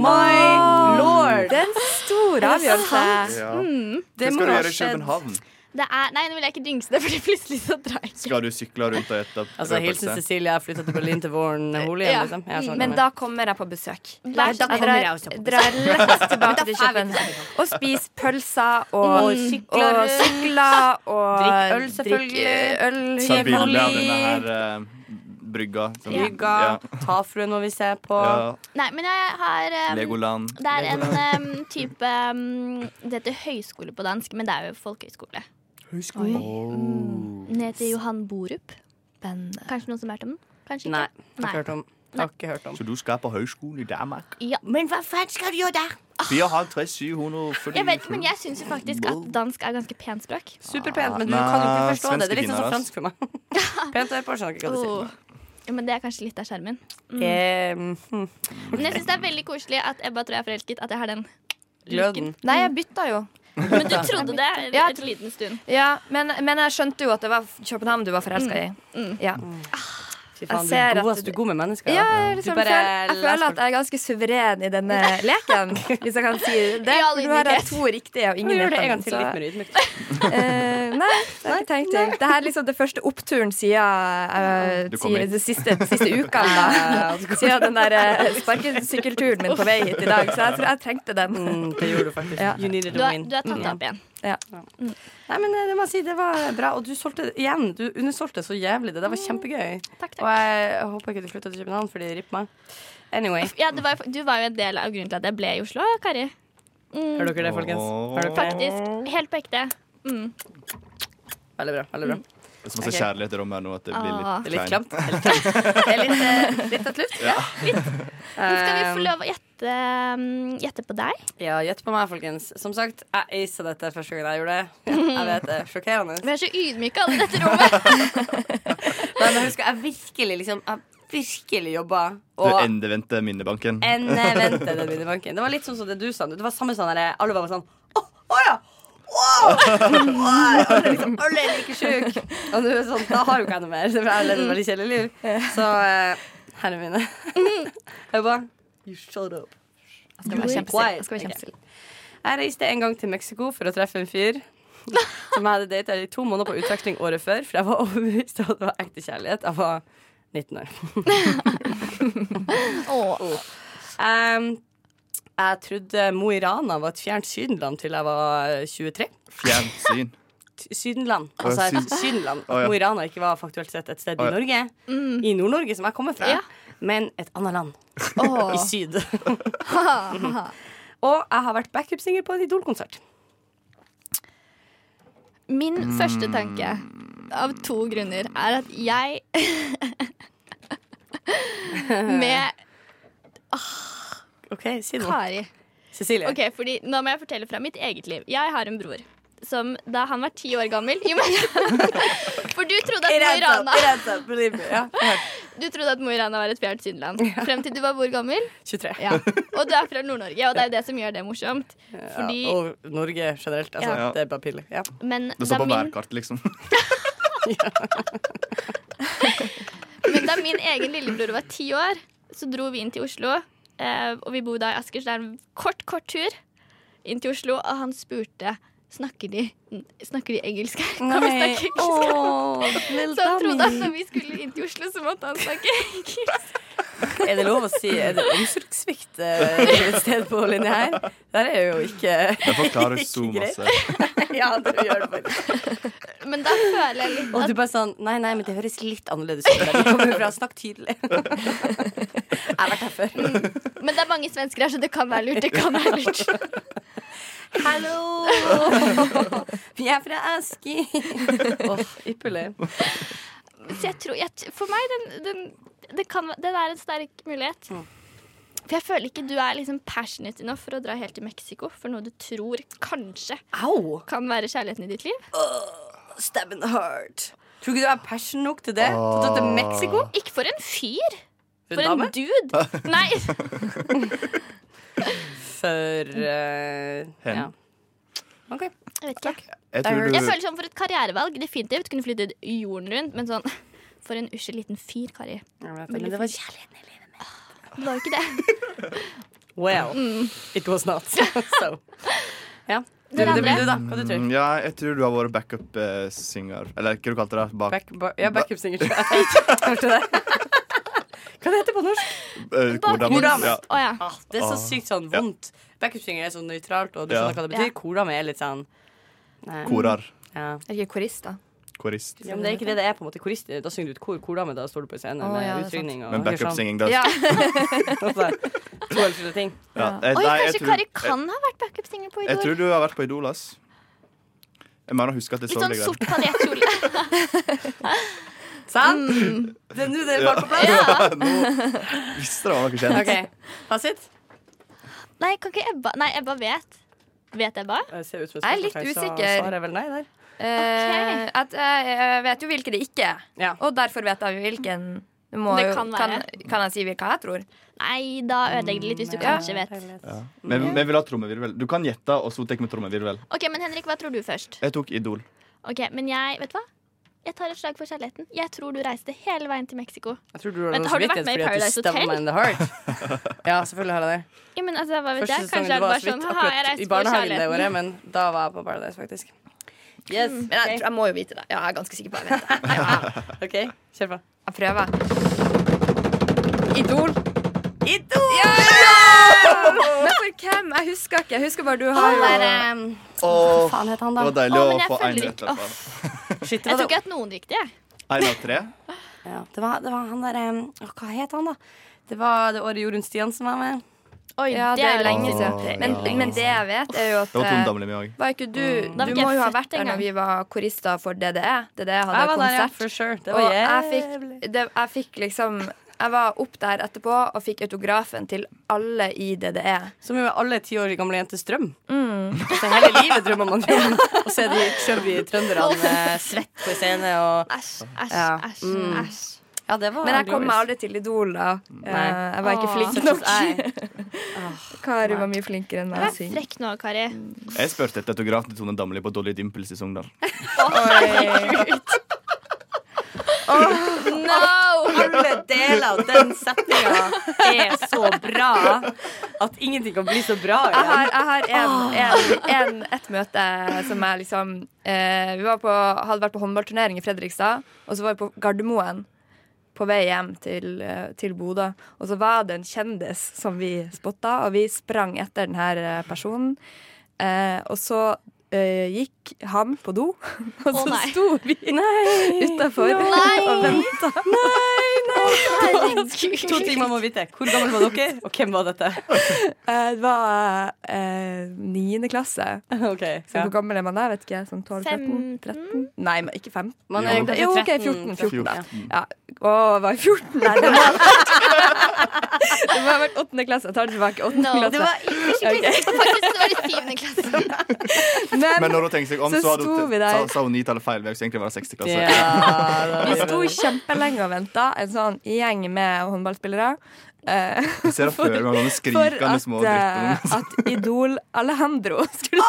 My Oh lord! Det er en stor avgjørelse. Ja. Det Hva må skal du ha gjøre i skjedd. København? Det er, nei, nå vil jeg ikke jinxe det, Fordi plutselig så drar jeg. Skal du sykle rundt og ete Altså, Hilsen Cecilie har flytta til Berlin til våren. eh, Ole igjen, Ja. liksom. Jeg skjønner. Men da kommer jeg på besøk. Da- da kommer drar, jeg også på besøk. drar Men lett da tilbake til får vi København og spiser pølser og, Og og sykler sykler og, Drikk øl, selvfølgelig. drikker øl Ta bilde av hjemme. denne her eh, brygga. som- Brygga, Tafruen må vi se på. Ja. Nei, men jeg har Ja. um, Legoland. Det er en um, type um, Det heter høyskole på dansk, men det er jo folkehøyskole. Høyskole. Den heter Johan Borup. Kanskje noen som har hørt om den? Kanskje ikke? Nei, har ikke hørt om. Har ikke hørt om. Så du skal på høyskole i Danmark? Ja. Men hva faen skal du gjøre der? 54 740 Jeg vet, men jeg syns jo faktisk at dansk er ganske pent språk. Superpent, men du Nei, kan jo ikke forstå det. Det er svenske litt sånn som finner, fransk for meg. (laughs) Pent og jeg forstår ikke hva du sier. Åh. Ja, men det er kanskje litt av skjermen. Eh, hm. Men jeg syns det er veldig koselig at Ebba tror jeg er forelsket, at jeg har den. Gløden. Nei, jeg bytta jo. Men du trodde det en Ja. en liten stund. Ja, men, men jeg skjønte jo at det var København du var forelska i. Ja. Mm. Ah, Fy faen, du ser er at god, ass. Du er god med mennesker. Ja, da. jeg, liksom, Du bare føler, jeg leser føler at jeg er ganske suveren i (laughs) denne leken, hvis jeg kan si det. Ja, For du har hatt to riktige og Men ingen gjør det en gang rett. til litt mer ydmykt. Eh, nei, det har jeg ikke tenkt til. Det her er liksom det første oppturen siden eh, Du kom siden hit. de siste, de siste ukene. (laughs) Da. Siden den der eh, sparkesykkelturen min på vei hit i dag. Så jeg tror jeg trengte den. Mm, (laughs) det gjorde du faktisk. Ja. You needed Du a har, win. du har tatt det opp igjen. Ja. Nei, men eh, det må jeg si, det var bra. Og du solgte igjen. Du undersolgte så jævlig. Det der var kjempegøy. Mm. Takk, Og takk. jeg håper ikke du flytta til København, fordi det ripper meg. Anyway. Ja, du, var, du var jo en del av grunnen til at jeg ble i Oslo, Kari. Mm, Hører dere det, folkens? Hører dere? faktisk. Helt på (laughs) ekte. Mm. Veldig bra. veldig bra Det er så masse Ok. kjærlighet i rommet her nå at det blir litt, Ah. Det er litt kleint. klamt. Det er litt klamt. Det er litt, eh, litt tatt luft. Ja, Men skal vi få lov å gjette, mm, gjette på deg? Eh, Ja, gjett på meg, folkens. Som sagt, jeg acet dette første gangen jeg gjorde (laughs) det. Jeg vet det, Sjokkerende. Vi er så ydmyke alle i dette rommet. Men jeg husker jeg virkelig liksom Jeg virkelig jobba. Den Og endevendte minnebanken. endevendte den minibanken. Det var litt sånn som det du sa. Det var samme sånn der, Alle var bare sånn Å, å ja! Wow! Wow! Alle, liksom, alle er like sjuke. Og nå er det sånn, da har jo ikke jeg noe mer. For jeg lever et veldig kjedelig liv. Så eh, herrene (laughs) mine Jeg bare You shut up. Skal være kjempestille. Jeg skal være kjempestille. Jeg reiste en gang til Mexico for å treffe en fyr som jeg hadde data i to måneder på utveksling året før, for jeg var overbevist om at det var ekte kjærlighet. Jeg var 19 år. Ehm, jeg trodde Mo i Rana var et fjernt Sydenland til jeg var 23. Fjernsyn. T- Sydenland. Å, Altså ja, et Sydenland. Å, ja. At Mo i Rana ikke var faktuelt sett et sted Å, ja. i Norge. I Nord-Norge, som jeg kommer fra. Men et annet land. I syd. (laughs) Og jeg har vært backup-singer på en Idol-konsert. Min første tanke, av to grunner, er at jeg (laughs) Med OK, si noe. Kari. Cecilie. Ok, fordi Nå må jeg fortelle fra mitt eget liv. Jeg har en bror som da han var ti år gammel jo, men, For du trodde at Mo i Rana believe me. (laughs) Ja. Du trodde at Mo i Rana var et fjernt sydenland. Frem til du var hvor gammel? 23. Ja. Og du er fra Nord-Norge, og det er jo det som gjør det morsomt. Fordi, Ja, (laughs) og Norge generelt. Altså, Ja. Det er bare piller. Ja. men Det da står på min, værkartet, liksom. men da min egen lillebror var ti år, så dro vi inn til Oslo. Eh, og vi bor da i Asker, så det er en kort, kort tur inn til Oslo. Og han spurte snakker de, snakker de engelsk (laughs) her. Kan vi snakke engelsk? Så han trodde at når vi skulle inn til Oslo, så måtte han snakke engelsk. Er det lov å si Er det omsorgssvikt eh, et sted på linja her? Der er jo ikke (laughs) (laughs) Det forklarer så masse. Ja, du gjør det faktisk. Men da føler jeg litt Og du at bare sånn Nei, nei, men det høres litt annerledes ut. der Du kommer fra Snakk (laughs) tydelig. Jeg har vært her før. Men det er mange svensker her, så det kan være lurt. Det kan være lurt. (laughs) Hallo! Vi er fra Aski. Åh, ypperlig. Så jeg tror, jeg, for meg, den, den, det kan, den er en sterk mulighet. Mm. For jeg føler ikke du er liksom passionate enough for å dra helt til Mexico for noe du tror kanskje Au! kan være kjærligheten i ditt liv. Stab in the heart. Tror ikke du er passion nok til det? Til å dra til Mexico? Ikke for en fyr! For For en en dame? dude! (laughs) Nei! For eh, Hen. Ja. OK. Jeg (laughs) vet ikke. Jeg tror Jeg du føler sånn for et karrierevalg. Definitivt kunne flyttet jorden rundt, men sånn (laughs) for en usle liten fyr, Kari. Jeg vet det, men det var kjærligheten. Det var jo ikke det. (laughs) Well, it was not. so. Ja. Dere det blir Mm. du, andre? da. Hva du tror Mm, Ja, jeg tror du har vært backup-synger. Eller hva du kalte det? Bak, Back, ba, ja, backup-singer. tror (laughs) jeg. Jeg hørte det. Hva det heter det på norsk? (laughs) eh, kordame. Kordame. Ja. Å ja. Ah, det er så Ah. sykt sånn Ja. vondt. Backup-singer er så nøytralt, og du Ja. skjønner hva det betyr. Kordame er litt sånn Nei. Korar. Ja. Er det ikke korist, da? Korist. Ja, men det er ikke det det er. på en måte Korist, Da synger du et kor. Kordame, da står du på en scene Å, med ja, det er utrykning. og Men gjør sånn. backup-singing, da. Ja. Altså, To eller tre ting. Ja. Eh, Oi, nei, jeg tror- kanskje Eh, Kari jeg- kan ha vært backup-singer på Jeg Idol? tror du har vært på Idol, ass. Jeg mener å huske at jeg Litt så sånn deg der. sort paljettkjole. (laughs) Sant? Det er nå (laughs) dere Ja. får på plass. Visste det var noe kjent. (laughs) OK. Fasit? Nei, kan ikke Ebba Nei, Ebba vet. Vet Ebba? Jeg ser ut som et Jeg er litt spørsmålstegn, så usikker. svarer jeg vel nei der. Eh, at, jeg- jeg vet jo hvilke det ikke er. Ja. Og derfor vet jeg jo hvilken. Du Må, Det jo- kan være. Kan, kan jeg si hva jeg tror? Nei, da ødelegger det litt hvis du Ja. kanskje vet. Men vi vil ha trommevirvel. Du kan gjette, og så tar vi trommevirvel. Ok, men Henrik, hva tror du først? Jeg tok Idol. Ok, Men jeg Vet du hva? Jeg tar et slag for kjærligheten. Jeg tror du reiste hele veien til Mexico. Jeg tror du har Men noe har du vært samvittighet med i fordi at Paradise du stabba Hotel? meg in the heart. Ja, selvfølgelig har jeg det. Ja, men altså, hva vet Første jeg? sesongen Kanskje du jeg var bare så vidt sånn Ha, jeg akkurat i reiste for barnehagen det året, kjærligheten. men da var jeg på Paradise, faktisk. Yes. Men jeg, tror- jeg må jo vite det. Ja, jeg er ganske sikker på at jeg vet det. OK, kjør på. Jeg (laughs) prøver. Idol. Idol! Men for hvem? Jeg husker ikke. Jeg husker bare du har jo Åh, ehm, Faen het han, det da. var deilig Åh, å men jeg få én følger rett. ikke- derfra. Shit, det Jeg var det. tok ikke hatt noen riktige. Én av tre. Ja, det, var, det var han der eh, åh, Hva het han, da? Det var det året Jorunn Stiansen var med. Oi, Ja, det er lenge Mm. Åh, siden. Men, ja. men det jeg vet, er jo at Det var Tone eh, Damli med òg. var ikke du, Da var du ikke må jeg jo ha født vært der engang. når vi var korister for DDE. DDE hadde Jeg var der, ja, konsert. for sure. Det og var jeg jævlig. fikk, det, jeg fikk liksom Jeg var opp der etterpå og fikk autografen til alle i E. DDE. Som jo er alle ti år gamle jenters drøm. Mm. (laughs) Så hele livet drømmer man jo om å se de chubby trønderne eh, svett på scene og Æsj, æsj, Ja. æsj. Mm. æsj. Ja, det var Men jeg kom meg glorious. aldri til Idol, da. Eh, Jeg var ikke Åh. flink Such as nok. I. Kari var mye flinkere enn meg å Vær synge. frekk nå, Kari. Mm. Jeg spurte etter autograf til Tone Damli på Dolly Dimples i Sogndal. No! Alle deler av den setninga er så bra at ingenting kan bli så bra Jeg igjen. har, jeg har en, en, en, et møte som jeg liksom eh, Vi var på, hadde vært på håndballturnering i Fredrikstad, og så var vi på Gardermoen på vei hjem til, eh, til Bodø. Og så var det en kjendis som vi spotta, og vi sprang etter denne personen. Eh, og så eh, gikk han på do, (laughs) og så nei. sto vi utafor og venta. To ting man må vite. Hvor gammel var dere, og hvem var dette? (laughs) Eh, det var eh, niende klasse. Ok, Så ja. hvor gammel er man da? Vet ikke, jeg, sånn 12-13? 13? Nei, men ikke 15. Man Jo. er kanskje Jo, ok, 13, 14, 14 da. 14. Ja. Å, var jeg 14? Nei, det må (laughs) Det må ha vært 8. klasse. Jeg tar det tilbake. 8. No, det klasse. var ikke Faktisk, det var i syvende (laughs) klasse. Men, Men når hun tenkte seg om, Så så, hadde sto hun, vi der. sa, sa hun nitallet feil. Vi skulle egentlig være 60 klasse. Ja, vi sto kjempelenge og venta, en sånn gjeng med håndballspillere. eh, Jeg ser det før meg noen for skrikende at, små eh, drittunger. at Idol Alejandro (laughs) skulle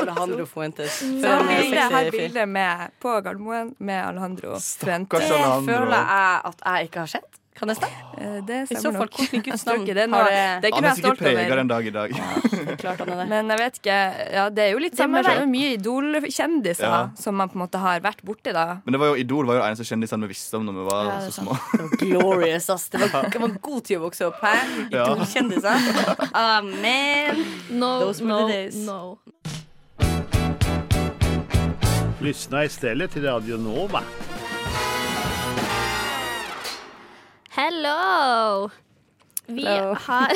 Alejandro Fuentes. Så har Før- bildet, har bildet med på Gardermoen med Alejandro. Fuentes. Stakkars Føler Alejandro. jeg at jeg ikke har sett? Kan jeg snakke? Eh, Det I så stemmer fall, nok. hvordan i Guds Jeg tror navn ikke det har er noe- det det er ikke Han er noe jeg er sikkert stolt preget over. den dag i dag. klart han er det? Men jeg vet ikke, ja, det er jo litt Det må samme. Det er være- jo mye Idol-kjendiser Ja. som man på en måte har vært borti, da. Men det var jo Idol var jo eneste kjendisen vi visste om når vi var Ja, det er så små. Glorious, ass. Det var, det var god tid å vokse opp her. Ja. Idol-kjendiser. Amen. No, Those were no, the days. no. Lyssna istället till Radio Nova. Hello! Vi Hello. har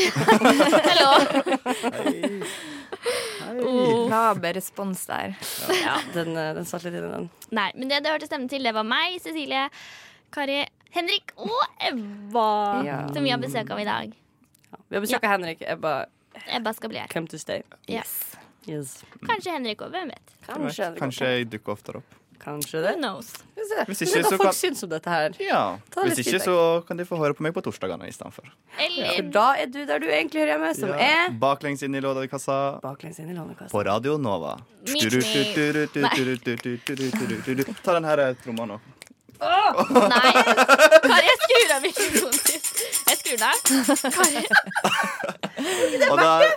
(laughs) Hello! Oh. Laber respons der. Ja, den, eh, den satt litt i den. Nei, men det du hørte stemmen til, det var meg, Cecilie, Kari, Henrik og Ebba. Ja. Som vi har besøk av i dag. Vi har besøk av Henrik. Ebba, Ebba skal bli her. come to stay. Yes. Yes. Kanskje Henrik òg, hvem vet? Kanskje, Kanskje jeg dukker oftere opp. Kanskje Who det. knows? Hvis Hvis ikke, ikke, så hva folk kan- syns om dette her. Ja. Ta litt Hvis ikke, så kan de få høre på meg på torsdagene istedenfor. Eller For da er du der du egentlig hører hjemme, som er Baklengs inn i låda i kassa. baklengs inn i Lånekassa. På Radio Nova. Meet Du, du, du, me. du, du, du, du, du, du, du, du, du, du, du. Ta den her eh, tromma nå. Nei. Kari, jeg skrur av mikrofonen din. Jeg skrur den av. Kari, (laughs) Og der,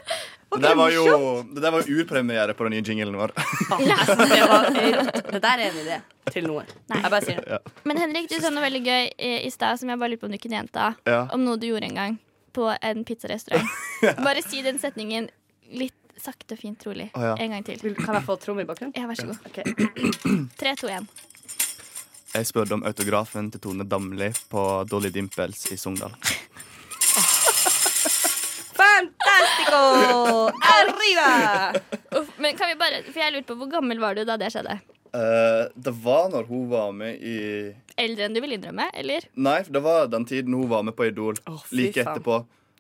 Det der var jo, det der var jo urpremiere på den nye jinglen vår. Det, var, det der er en idé til noe. Jeg bare sier det. Ja. Men Henrik, du sa noe veldig gøy i, i stad som jeg bare lurte på om du kunne gjenta. Ja. Om noe du gjorde en gang på en (laughs) pizzarestaurant. Bare si den setningen litt sakte, fint, rolig. Å, ja. En gang til. Kan jeg få tromme i bakgrunnen? Ja, vær så god. (clears throat) 3, 2, 1. Jeg spurte om autografen til Tone Damli på Dolly Dimples i Sogndal. Fantastico! Arriva! Uff, men kan vi bare, for jeg lurte på Hvor gammel var du da det skjedde? Eh, det var når hun var med i Eldre enn du vil innrømme, eller? Nei, det var den tiden hun var med på Idol. fy like faen. etterpå.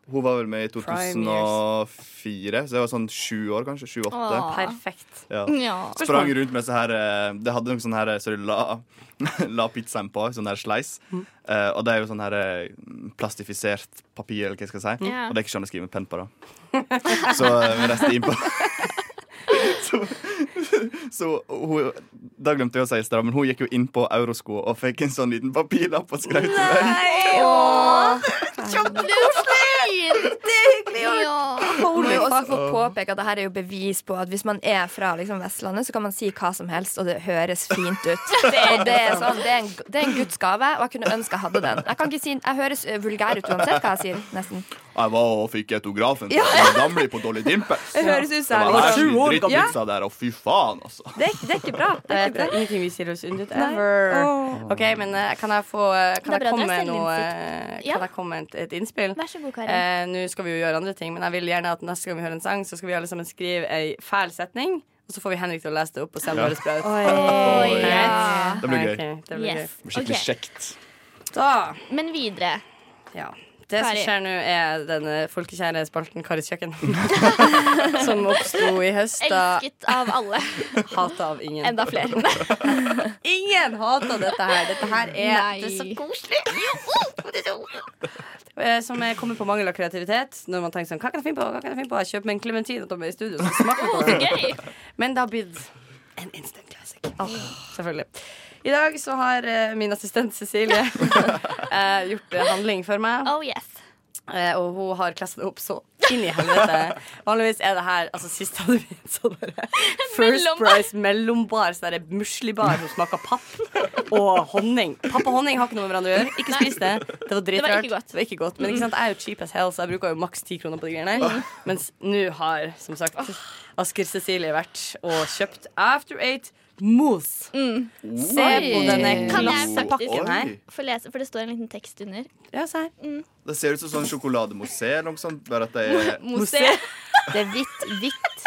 Hun var vel med i Prime 2004, så jeg var sånn sju år, kanskje. Sju-åtte. Åh. Perfekt. Ja. Ja. Sprang rundt med så her eh, Det hadde noen sånne her eh, Så du la, (laughs) la pizzaen på, sånn her sleis. Mm. Mhm. Eh, og det er jo sånn her eh, plastifisert papir, eller hva jeg skal si. Ja. Og det er ikke sånn jeg skriver med penn på, da. (laughs) Så eh, vi reiste innpå. (laughs) Så hun, da glemte jeg å si i stad, men hun gikk jo inn på Eurosko og fikk en sånn liten papirlapp og skrev til meg. Kjempekoselig! Det er hyggelig. og- Ja. Man må jo også fuck. få påpeke at dette er jo bevis på at hvis man er fra liksom, Vestlandet, så kan man si hva som helst, og det høres fint ut. Og (laughs) det er, sånn, det er, en, det er en Guds gave, og jeg kunne ønske jeg hadde den. Jeg, kan ikke si, jeg høres eh, vulgær ut uansett hva jeg sier, nesten. Jeg var og fikk autografen Ja. til Damli på Dolly Dimples. Det høres Det ut som jeg var sånn, var sju år en gammel. drittpizza der, og fy faen, altså. Det er, det er ikke bra. Det er ikke bra. Ingenting vi sier oss undet ever. OK, men eh, kan jeg få eh, Kan Det er jeg bra, komme det er med noe selvinnsikt. eh, Ja. Kan jeg komme med et, et innspill? Vær så god, Kari. Eh, Nå skal vi jo gjøre andre ting, men jeg vil gjerne at neste gang vi hører en sang, så skal vi alle sammen skrive ei fæl setning, og så får vi Henrik til å lese det opp og se om Ja. det høres bra ut. Oi. Greit? Ja. Det blir gøy. Ok, det blir gøy. Yes. Ok. kjekt. Da Men videre. Ja. Det som Kari. skjer nå, er den eh, folkekjære spalten Karis (laughs) kjøkken. som oppsto i høst. da- Elsket av (laughs) alle. Hata av ingen. Enda flere. Ingen hater dette her. Dette her er, Nei. det er så koselig. Jo, det er så- Eh, Som eh, kommer på mangel av kreativitet. Når man tenker sånn, hva kan jeg finne på? Hva kan jeg finne på? Jeg kjøper meg en klementin og tar med i studio. Så smaker vi på Så den. (laughs) gøy! Men det har blitt en instant classic. selvfølgelig. I dag så har eh, min assistent Cecilie (laughs) eh, gjort eh, handling for meg. Oh yes. Eh, og hun har klessa det opp så inn i helvete. Vanligvis er det her altså Sist hadde vi en sånn (laughs) derre First Mellombar. Price mellombar. Sånn derre muslibar som smaker papp og honning. Papp og honning har ikke noe med hverandre å gjøre. Ikke spis det. Det var Det var ikke dritrart. godt. Det var ikke godt. Men ikke sant, jeg er jo cheap as hell, så jeg bruker jo maks ti kroner på de greiene her. Mens nå har, som sagt, Asker Cecilie vært og kjøpt After Eight Mousse. Se på denne Mm. Kan jeg faktisk klassepakken her. få lese, for det står en liten tekst under. Ja, se her. Det ser ut som sånn sjokolademousse eller noe sånt, bare at det er Mose. Det er hvitt, hvitt.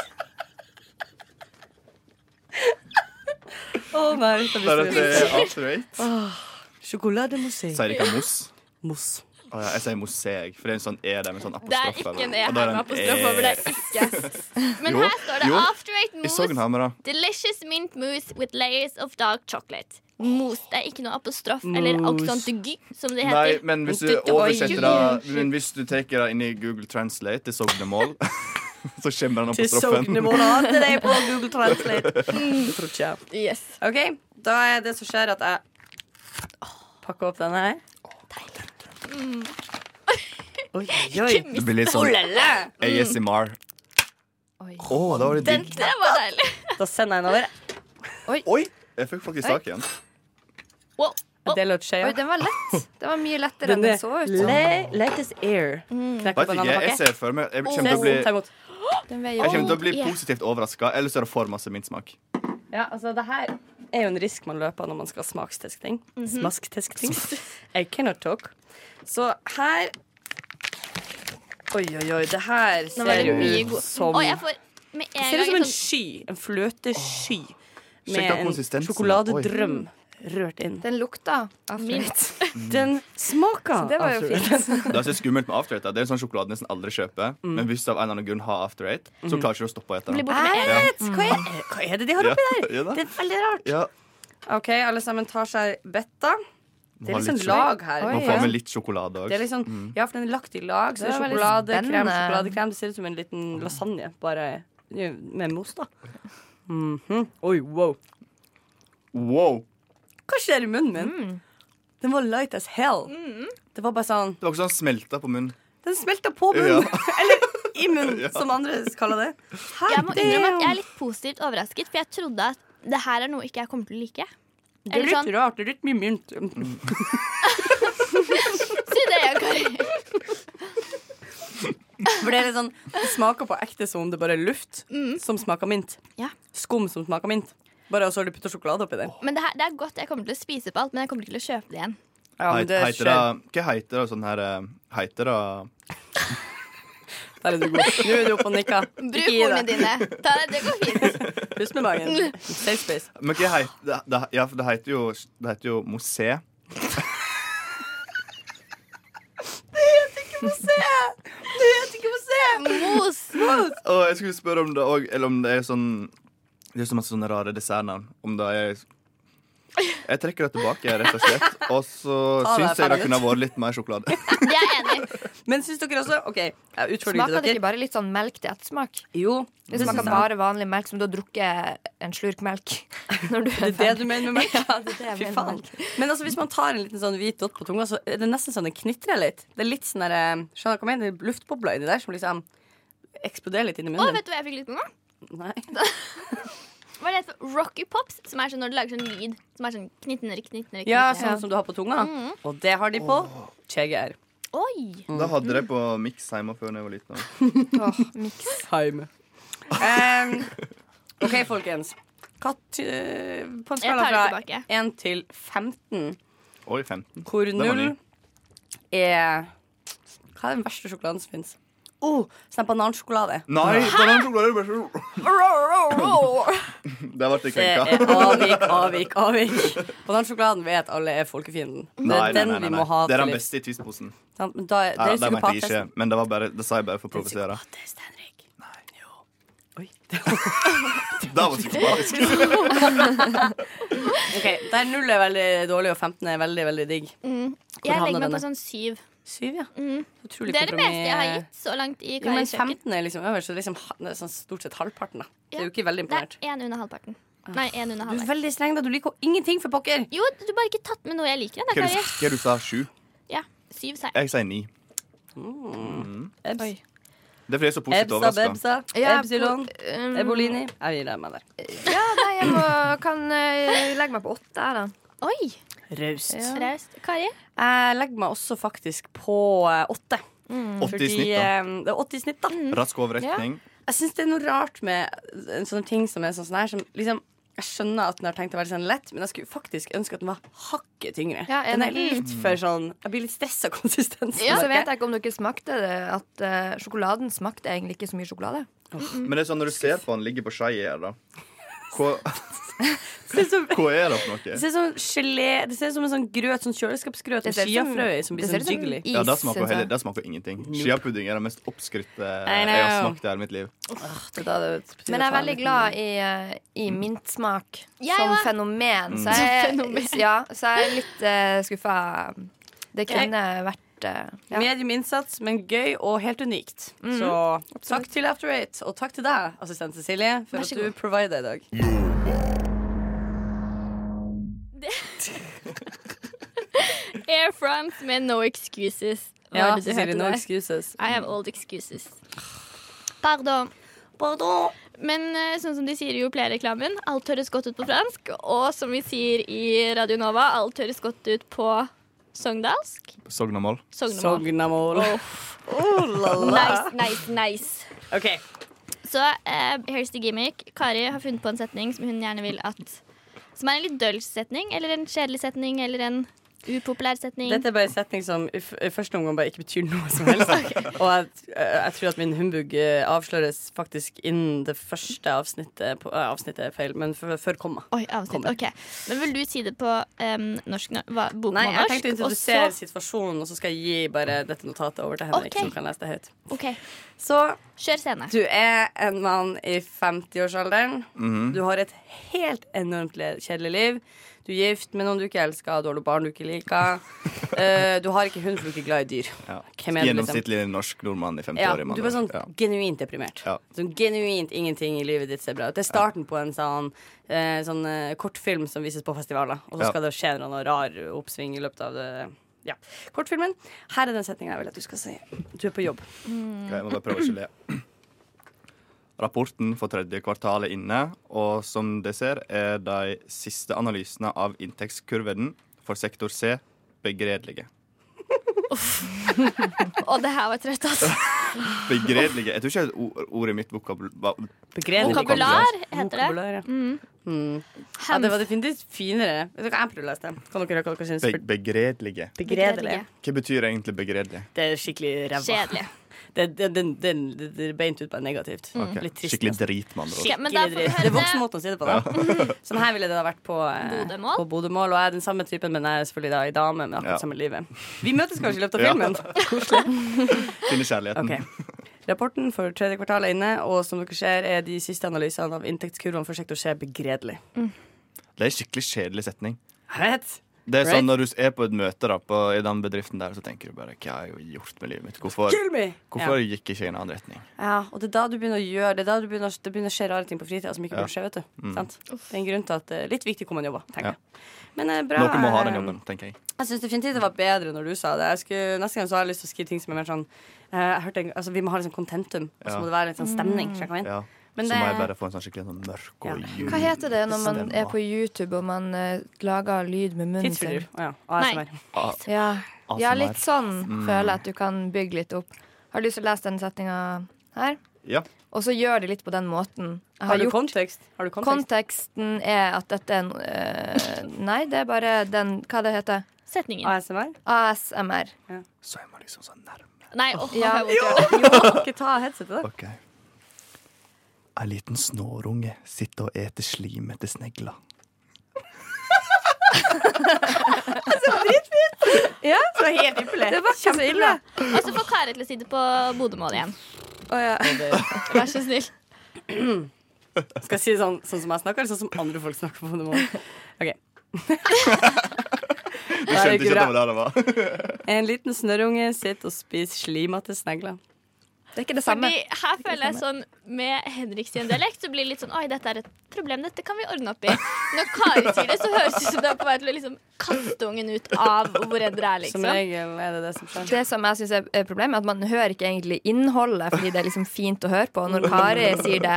Å nei, ut av Bare at det er historien. after eight. Sjokolademousse. Sier ikke mousse. Mousse. Å ja, jeg sier mousse, jeg, for det er en sånn e der med sånn Det er apostrof. ikke over. en E her Og da er med det apostrof en over. e. Det er ikke. Men Jo, her står det jo. After Eight I Mousse. Sognhammer, da. Delicious mint mousse with layers of dark chocolate. Mousse. Det er ikke noe apostrof eller Mousse. accent de gy, som det heter. Nei, men hvis du oversetter det Men hvis du tar det inn i Google Translate til sognemål, (laughs) så kommer den til apostrofen. Sognemål og hadde deg på Google (laughs) Translate. Det tror ikke jeg. Yes. OK, da er det som skjer, at jeg pakker opp denne her. Mm. Oi, oi, oi. Det blir litt sånn Olala. ASMR. Å, da var det Den, digg. det var deilig. Da sender jeg den over. Oi! Jeg fikk faktisk tak i den. Wow. Jeg deler ut Oi, skjea. den var lett. Den var mye lettere enn Den den er så ut. Mm. le- Lettest air. Knekk Vet opp en ikke, annen jeg pakke. ser for meg Jeg Å, kommer til å bli, ta imot. Den veier jeg kommer til å bli Oh, yeah. positivt overraska, eller så er det for masse min smak. Ja, altså, det her er jo en risk man løper når man skal smaksteste ting. Smaskteske ting. (laughs) I cannot talk. Så her Oi, oi, oi. Det her Nå var ser det mye jo god ut som Å, jeg får med en Ser ut gang som en en sånn sky. En fløtesky. Sjekk av Med en konsistensen. sjokoladedrøm rørt inn. Den lukta after mint. eight. Den smaker Det var jo fint. Det er så skummelt med after eight. da. Det er en sånn sjokolade jeg nesten aldri kjøper. Mm. Men hvis du av en eller annen grunn har after eight, så klarer ikke du å stoppe å ete Blir den. borte med en gang. Vet, Hva er, hva er det de har Ja, oppi der? ja da. Det er veldig rart. Ja. OK, alle sammen tar seg betta. Det Må er ha litt sånn litt lag her. Man får med litt sjokolade Det er òg. litt sånn, ja, for den er lagt i lag. Så Det det er var veldig sjokolade, krem, spennende. sjokoladekrem. Det ser ut som en liten lasagne, bare ja, med mos, da. Mhm. Oi, wow. liksom- Wow! Hva skjer i munnen min? Den var light as hell. Det var bare sånn Det var ikke sånn smelta på munnen. Den smelta på Ja. munnen. Eller (laughs) i munnen, som andre kaller det. Hei, Jeg må innrømme at jeg er damn. litt positivt overrasket, for jeg trodde at det her er noe ikke jeg kommer til å like. Det er Eller litt sånn, rart. Det er litt mye mynt. Si det, Kari. For det er litt sånn Det smaker på ekte som om det bare er luft som smaker mint. Ja. Skum som smaker mint. Bare så har du putta sjokolade oppi det. (laughs) Men det, her, det er godt. Jeg kommer til å spise på alt, men jeg kommer ikke til å kjøpe det igjen. Ja, men det Heiter skjer. det Hva heiter det sånn her eh, Heiter det Der er du god. Nå er du oppe og nikker. Bruk ordene dine. Ta, det går fint. Pust med magen. (laughs) Safe space. Men hva heiter det, det, Ja, for det heiter jo Det heter jo mosé. Se! Det heter ikke mosé! Mos. Og jeg skulle spørre om det òg Eller om det er sånn Det er så masse sånne rare dessertnavn. Om det er Jeg trekker det tilbake, rett og slett. Og så Ta det, syns jeg det ferdig. kunne ha vært litt mer sjokolade. Men syns dere også OK, jeg (laughs) Smaker utfordrer det ikke dere. bare litt sånn melk til ettersmak? Jo. Det Det smaker synes jeg. bare vanlig melk som du har drukket en slurk melk. (laughs) Når du er Det er det du mener med melk? (laughs) Ja, det er det jeg Fy mener faen. med melk. Men altså, hvis man tar en liten sånn hvit dott på tunga, så er det nesten sånn det knitrer litt. Det er litt sånn der, eh, Skjønner du hva jeg mener? Det er luftbobler inni der som liksom eksploderer litt inni Å, munnen. vet du hva jeg fikk lyst på nå? (laughs) Nei. Hva er det for Rocky Pops, som er sånn når du lager sånn lyd. Som er sånn knitner, knitner, knitner. Ja, sånn som du har på tunga. Mhm. Mm. Og det har de på KGR. Oi! Mm. Da hadde jeg det på Mix hjemme før da jeg var liten. Time. Ehm, OK, folkens. Hva ty- på en Jeg skala tar fra det tilbake. 1 til 15, Oi, 15. hvor Den var 0 ny. er Hva er den verste sjokoladen som fins? Oh, sånn banansjokolade. Nei, banansjokolade er bare (laughs) så Der ble jeg Det er krenka. avvik, avvik, avvik. Banansjokoladen vet alle er folkefienden. Det Nei, er nei, den nei, nei, vi nei. må ha Det er til den livs. beste i tvistposen. Sant, men Da, Ja, det er det mente jeg ikke, psykopattesten. men det, var bare, det sa jeg bare for å provosere. Psykopattesten, Henrik. Det var psykopatisk. (laughs) Ok, Der null er veldig dårlig, og 15 er veldig, veldig digg. Mm. Hvor Jeg havner legger meg denne? på sånn syv. Syv, ja. Mm. Utrolig Det er det kompromiss. meste jeg har gitt så langt i Jo, men Karis kjøkken. 15 er liksom øverst, så det er liksom, ha- det er sånn stort sett halvparten. da Det er jo Ja. ikke veldig Det er imponert. én under halvparten. Nei, én Du under er halvveis. veldig streng, da. Du liker jo ingenting, for pokker! Jo, du har bare ikke tatt med noe jeg liker. Da, Hva du, Kari. hva du sa du? Sju? Ja, syv seier. Jeg sier ni. Mm. Ebs. Det er fordi jeg er så positivt Ebsa, overraska. Bebsa, Ja, Epsilon, po- um, Ebolini. Jeg gir deg med der. Ja, nei, jeg må, kan eh, legge meg på åtte, jeg, da. Oi! Raust. Raust. Kari? Jeg legger meg også faktisk på eh, åtte. Åtte i Fordi, snitt, da. eh, Det er 80 i snitt, da. Mm. Rask overrekning. Jeg syns det er noe rart med en sånn ting som er sånn sånn her som liksom jeg skjønner at den har tenkt å være sånn lett, men jeg skulle faktisk ønske at den var hakket tyngre. Ja, den er enig. litt Mm. for sånn Jeg blir litt stressa av konsistensen. Og så vet jeg ikke om dere smakte det, at eh, sjokoladen smakte egentlig ikke så mye sjokolade. Men det er sånn når du ser på han ligger på skei her, da hva, (laughs) Det ser ut som- hva er det for det noe? ser ut som gelé Det ser ut som en sånn grøt, sånn kjøleskapsgrøt med Det ser ut som- chiafrø i, som blir det ser sånn ut som jiggly. is, Ja, Det smaker jo synes jeg. heller- det smaker jo ingenting. Chiapudding er det mest oppskrytte jeg know. har smakt i hele mitt liv. Men jeg er veldig glad i, eh, i Mm. mintsmak Jeg som òg. fenomen. Så Som jeg, fenomen. ja, så jeg er litt uh, skuffa. Det Jeg- kunne vært eh, ja. Medium innsats, men gøy og helt unikt. Mhm. Så takk til After Eight, og takk til deg, assistent Cecilie, for Vær at så du god. provider i dag. Air France med No Excuses. Hva Ja, er det du Cecilie, heter no der? excuses. I have old excuses. Pardon. Pardon. Men eh, sånn som de sier i Joplé-reklamen, alt høres godt ut på fransk. Og som vi sier i Radio Nova, alt høres godt ut på sogndalsk. Sognamål. Sognemål. Sognamål. Oh, la, la. Nice, nice, nice. OK. Så eh, here's the gimmick. Kari har funnet på en setning som hun gjerne vil at Som er en litt døll setning, eller en kjedelig setning, eller en upopulær setning. Dette er bare en setning som i f- i første omgang bare ikke betyr noe som (laughs) helst. Og jeg, jeg tror at min humbug eh, avsløres faktisk innen det første avsnittet på, eh, Avsnittet er feil, men før, før komma. Oi, avsnitt. Kommer. Ok. Men vil du si det på em, norsk nå- hva, bokmål Nei, jeg tenkte å norsk, og introdusere så- situasjonen, og så skal jeg gi bare dette notatet over til Henrik, Ok. som kan lese det høyt. Ok, Så Kjør scene. du er en mann i 50-årsalderen. Mhm. Du har et helt enormt le- kjedelig liv. Du er gift med noen du ikke elsker, du har noen barn du ikke (laughs) liker. Eh, du har ikke hund, for du er ikke glad i dyr. Ja. Hvem er det, liksom? Gjennomsnittlig norsk nordmann i 50 Ja, år. i du mange var år. sånn Ja. genuint deprimert. Ja. Sånn genuint ingenting i livet ditt ser bra ut. Det er starten på en sånn, eh, sånn eh, kortfilm som vises på festivaler, og så Ja. skal det skje noe rar oppsving i løpet av det, Ja. Kortfilmen. Her er den setninga jeg vil at du skal si. Du er på jobb. Ok, jeg må bare prøve å ikke le. Rapporten for tredje kvartal er inne, og som dere ser, er de siste analysene av inntektskurven for sektor C begredelige. Og det her var trøtt, altså. Begredelige Jeg tror ikke det er et ord- ordet mitt vokabul... va- Vokabular heter det. Vokabular, ja. Mm. Mm. Ja, det var definitivt finere. Vet du hva, Jeg prøver å lese det. Kan dere høre hva dere syns? Be begredelige. Begredelig. Hva betyr egentlig begredelig? Det er skikkelig ræva. Kjedelig. Det, det, det, det, det, det er beint ut på negativt. Ok, Mm, Litt trist. Skikkelig nesten. drit, med andre ord. Ja, Mm. men da får vi Skikkelig dritt. høre Mm. Det er voksenmåten å si det på, da. Sånn her ville det da vært på eh, Bodømål. på Bodømål. Og jeg er den samme typen, men jeg er selvfølgelig da ei dame med Ja. akkurat samme livet. Vi møtes kanskje i løpet (laughs) av Ja. filmen. Finne kjærligheten. Ok. Rapporten for tredje kvartal er inne, og som dere ser, er de siste analysene av inntektskurvene for sektor C begredelig. Det er en skikkelig kjedelig setning. Right? Det er Right? sånn Når du er på et møte da, på, i den bedriften der, så tenker du bare Hva har jeg gjort med livet mitt? Hvorfor, Kill me! hvorfor gikk jeg ikke i en annen retning? Ja, og det er da du begynner å gjøre det. er da du begynner, å- Det begynner å skje rare ting på fritida som ikke Ja. burde skje. vet du Mm. Sant? Det er en grunn til at det er litt viktig hvor man jobber. Ja. tenker jeg Men eh, bra Noen må ha eh, den jobben, tenker jeg. Jeg syns definitivt det var bedre når du sa det. Jeg skulle, neste gang så har jeg lyst til å skrive ting som er mer sånn eh, jeg hørte, en- altså, Vi må ha litt sånn contentum, og så Ja. må det være litt sånn stemning. slik jeg mener. Ja. Men så det- må jeg bare få en sånn skikkelig sånn mørk og jul. Hva heter det når man er på YouTube og man eh, lager lyd med munnen sin? Tidsfordriv. Å ja. ASMR. Ah, Ja. ASMR. ja, litt sånn Mm. føler jeg at du kan bygge litt opp. Har du lyst til å lese den setninga her? Ja. Og så gjør de litt på den måten. Jeg Har du gjort- kontekst? Har du kontekst? Konteksten er at dette er en eh, Nei, det er bare den Hva det heter (laughs) Setningen. ASMR? ASMR. Så er man liksom sånn nærme. Nei, åh, Ja. jeg må gjøre det. Ikke ta headsetet, da. Ok. En liten snårunge sitter og eter slim etter snegla. Ja, så er det helt ypperlig. Det var ikke så ille. Og så får Kari til å si det på bodømål igjen. Å, ja. Vær så snill. Skal jeg si det sånn, sånn som jeg snakker, eller sånn som andre folk snakker på det målet? (laughs) OK. Du skjønte Nei, det er ikke ikke at det bra. var der det var? En liten snørrunge sitter og spiser slimete snegler. Det er ikke det samme. Fordi her føler jeg sånn Med Henrik sin dialekt så blir det litt sånn Oi, dette er et problem, dette kan vi ordne opp i. Når Kari sier det, så høres det ut som det er på vei til å liksom kaste ungen ut av hvor enn dere er, Som liksom. regel er det det som skjer. Det som jeg synes er- er problemet, er at man hører ikke egentlig innholdet, fordi det er liksom fint å høre på. Og når Kari sier det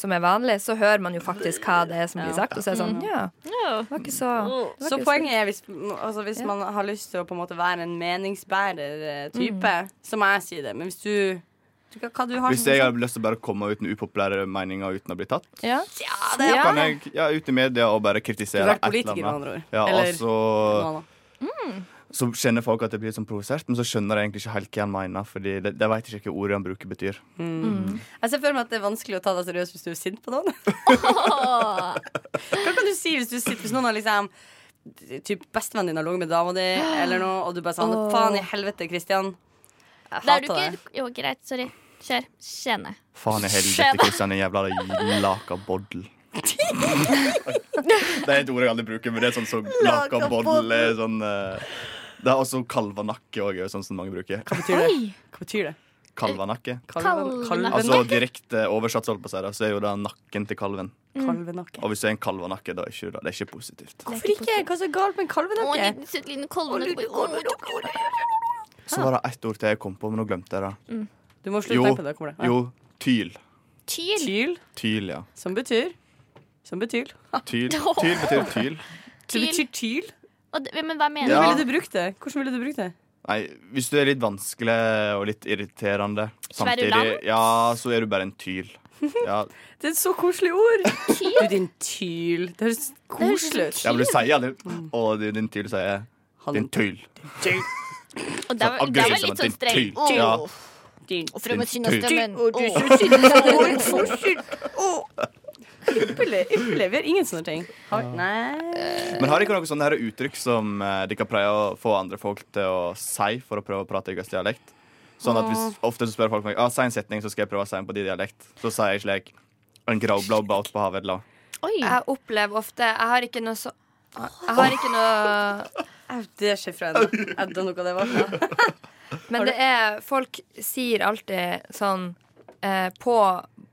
som er vanlig, så hører man jo faktisk hva det er som blir sagt. Og så er det sånn, ja, det Ja. var ikke så det var Så ikke poenget er hvis, altså hvis man har lyst til å på en måte være en meningsbærer eh, Mm. type, så må jeg si det. Men hvis du du kan- Hva du har Hvis jeg hadde lyst til å bare komme ut med upopulære meninger uten å bli tatt, Ja. det Ja. kan jeg ja, ut i media og bare kritisere Du har vært et eller politiker, med andre ord. annet. Ja, Eller- altså, Nå, nå. så kjenner folk at det blir litt sånn provosert, men så skjønner jeg egentlig ikke helt hva han mener, Fordi de, de vet ikke hva ordet han bruker, betyr. Jeg ser for meg at det er vanskelig å ta deg seriøst hvis du er sint på (laughs) noen. Åh. Hva kan du si hvis du sitter Hvis noen har liksom Typ bestevennen din har ligget med dama di, eller noe, og du bare sånn Faen i helvete, Kristian. Jeg Da er du hater deg. ikke Jo, greit, sorry. Kjør. Skjene. Faen i helvete, Skjønner. Kristian, en jævla lakaboddel. det er et ord jeg aldri bruker, men det er sånn som lakaboddel er sånn eh, Det er også kalvanakke òg, sånn som mange bruker. Hva betyr det? Hva betyr det? Kalvanakke. Kalven- Kalven- Altså direkte oversatt, holdt på å si, da, så er jo det nakken til kalven. Kalvenakke. Og hvis det er en kalvenakke, da er ikke det, det er ikke positivt. Hvorfor ikke? Hva er så galt med en Å, kalvenakke? en søt liten kolvene Så var det ett ord til jeg kom på, men nå glemte jeg det. Du må slutte å Jo, tenke på det. Kommer det. Ja. jo tyl. Tyl. Tyl, Tyl, ja. som betyr Som betyr (laughs) Tyl, tyl betyr tyl. Det betyr tyl. Og det, men hva mener Ja. Hvordan ville du brukt det? Hvordan ville du brukt det? Nei, hvis du er litt vanskelig og litt irriterende samtidig, Kverulant? ja, så er du bare en tyl. Ja, Det er et så koselig ord. Du, din tyl. Det høres koselig ut. ja (laughs) men du sier aldri Å, du, din tyl, sier jeg. Han Din tyl. du? Og det var, det var litt sånn streng. Din tyl. Ja, din din tyl. (laughs) Ypperlig. ypperlig. Vi har ingen sånne ting. Har vi? Nei. Men har dere noen sånne her uttrykk som eh, dere prøver å få andre folk til å si for å prøve å prate i deres dialekt? Sånn at hvis, Ofte så spør folk meg ah, si en setning, så skal jeg prøve å si den på din dialekt. Så sier jeg slik En growblow bout på havedla. Oi. Jeg opplever ofte Jeg har ikke noe så Jeg har ikke noe Au, Det skjer fra henne. Jeg vet ikke hva det var. for noe. Men det er Folk sier alltid sånn eh, på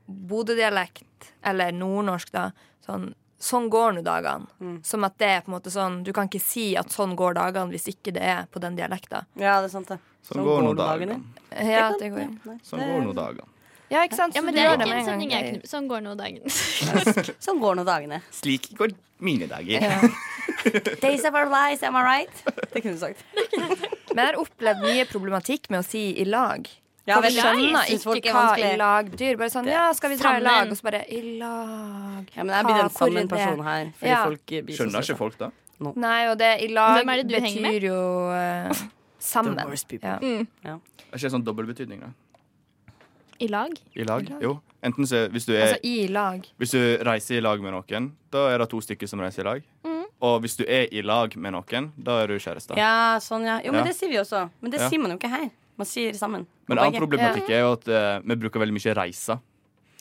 Bodø-dialekt, eller nordnorsk, da, sånn sånn går nå dagene. Mm. Som at det er på en måte sånn Du kan ikke si at sånn går dagene hvis ikke det er på den dialekta. Ja, det er sant, det. Sånn går nå dagene. Ja, det går. Sånn går nå dagene. Ja, ikke sant? Ja, Så men du det er gjør ikke med en en gang. setning jeg knu- Sånn går nå dagen. sånn går nå dagene. Slik går mine dager. Days of our lives, am I right? Det kunne du sagt. Men jeg har opplevd mye problematikk med å si i lag. Ja, For vel, vi ja. skjønner Jeg synes folk er ikke hva i vanskelig. lag betyr. Bare sånn, ja, skal vi dra i Sammen. lag? Og så bare, i lag Ja, men jeg Hva? blir den Hvor er samme det? personen her. Fordi Ja. folk eh, blir så Skjønner ikke folk da? Nei, og det i lag Hvem er det du henger med? betyr jo eh, sammen. The worst people. Ja. Ja. Er ikke det sånn dobbeltbetydning, da? I (laughs) lag? I lag? Jo. Enten så hvis du er Altså i lag. Hvis du reiser i lag med noen, da er det to stykker som reiser i lag. Mhm. Og hvis du er i lag med noen, da er du kjæreste. Ja, sånn, ja. Jo, men Ja. det sier vi også. Men det Ja. sier man jo ikke her. Man sier sammen. Men Begge. annen problematikk er jo at eh, vi bruker veldig mye reiser.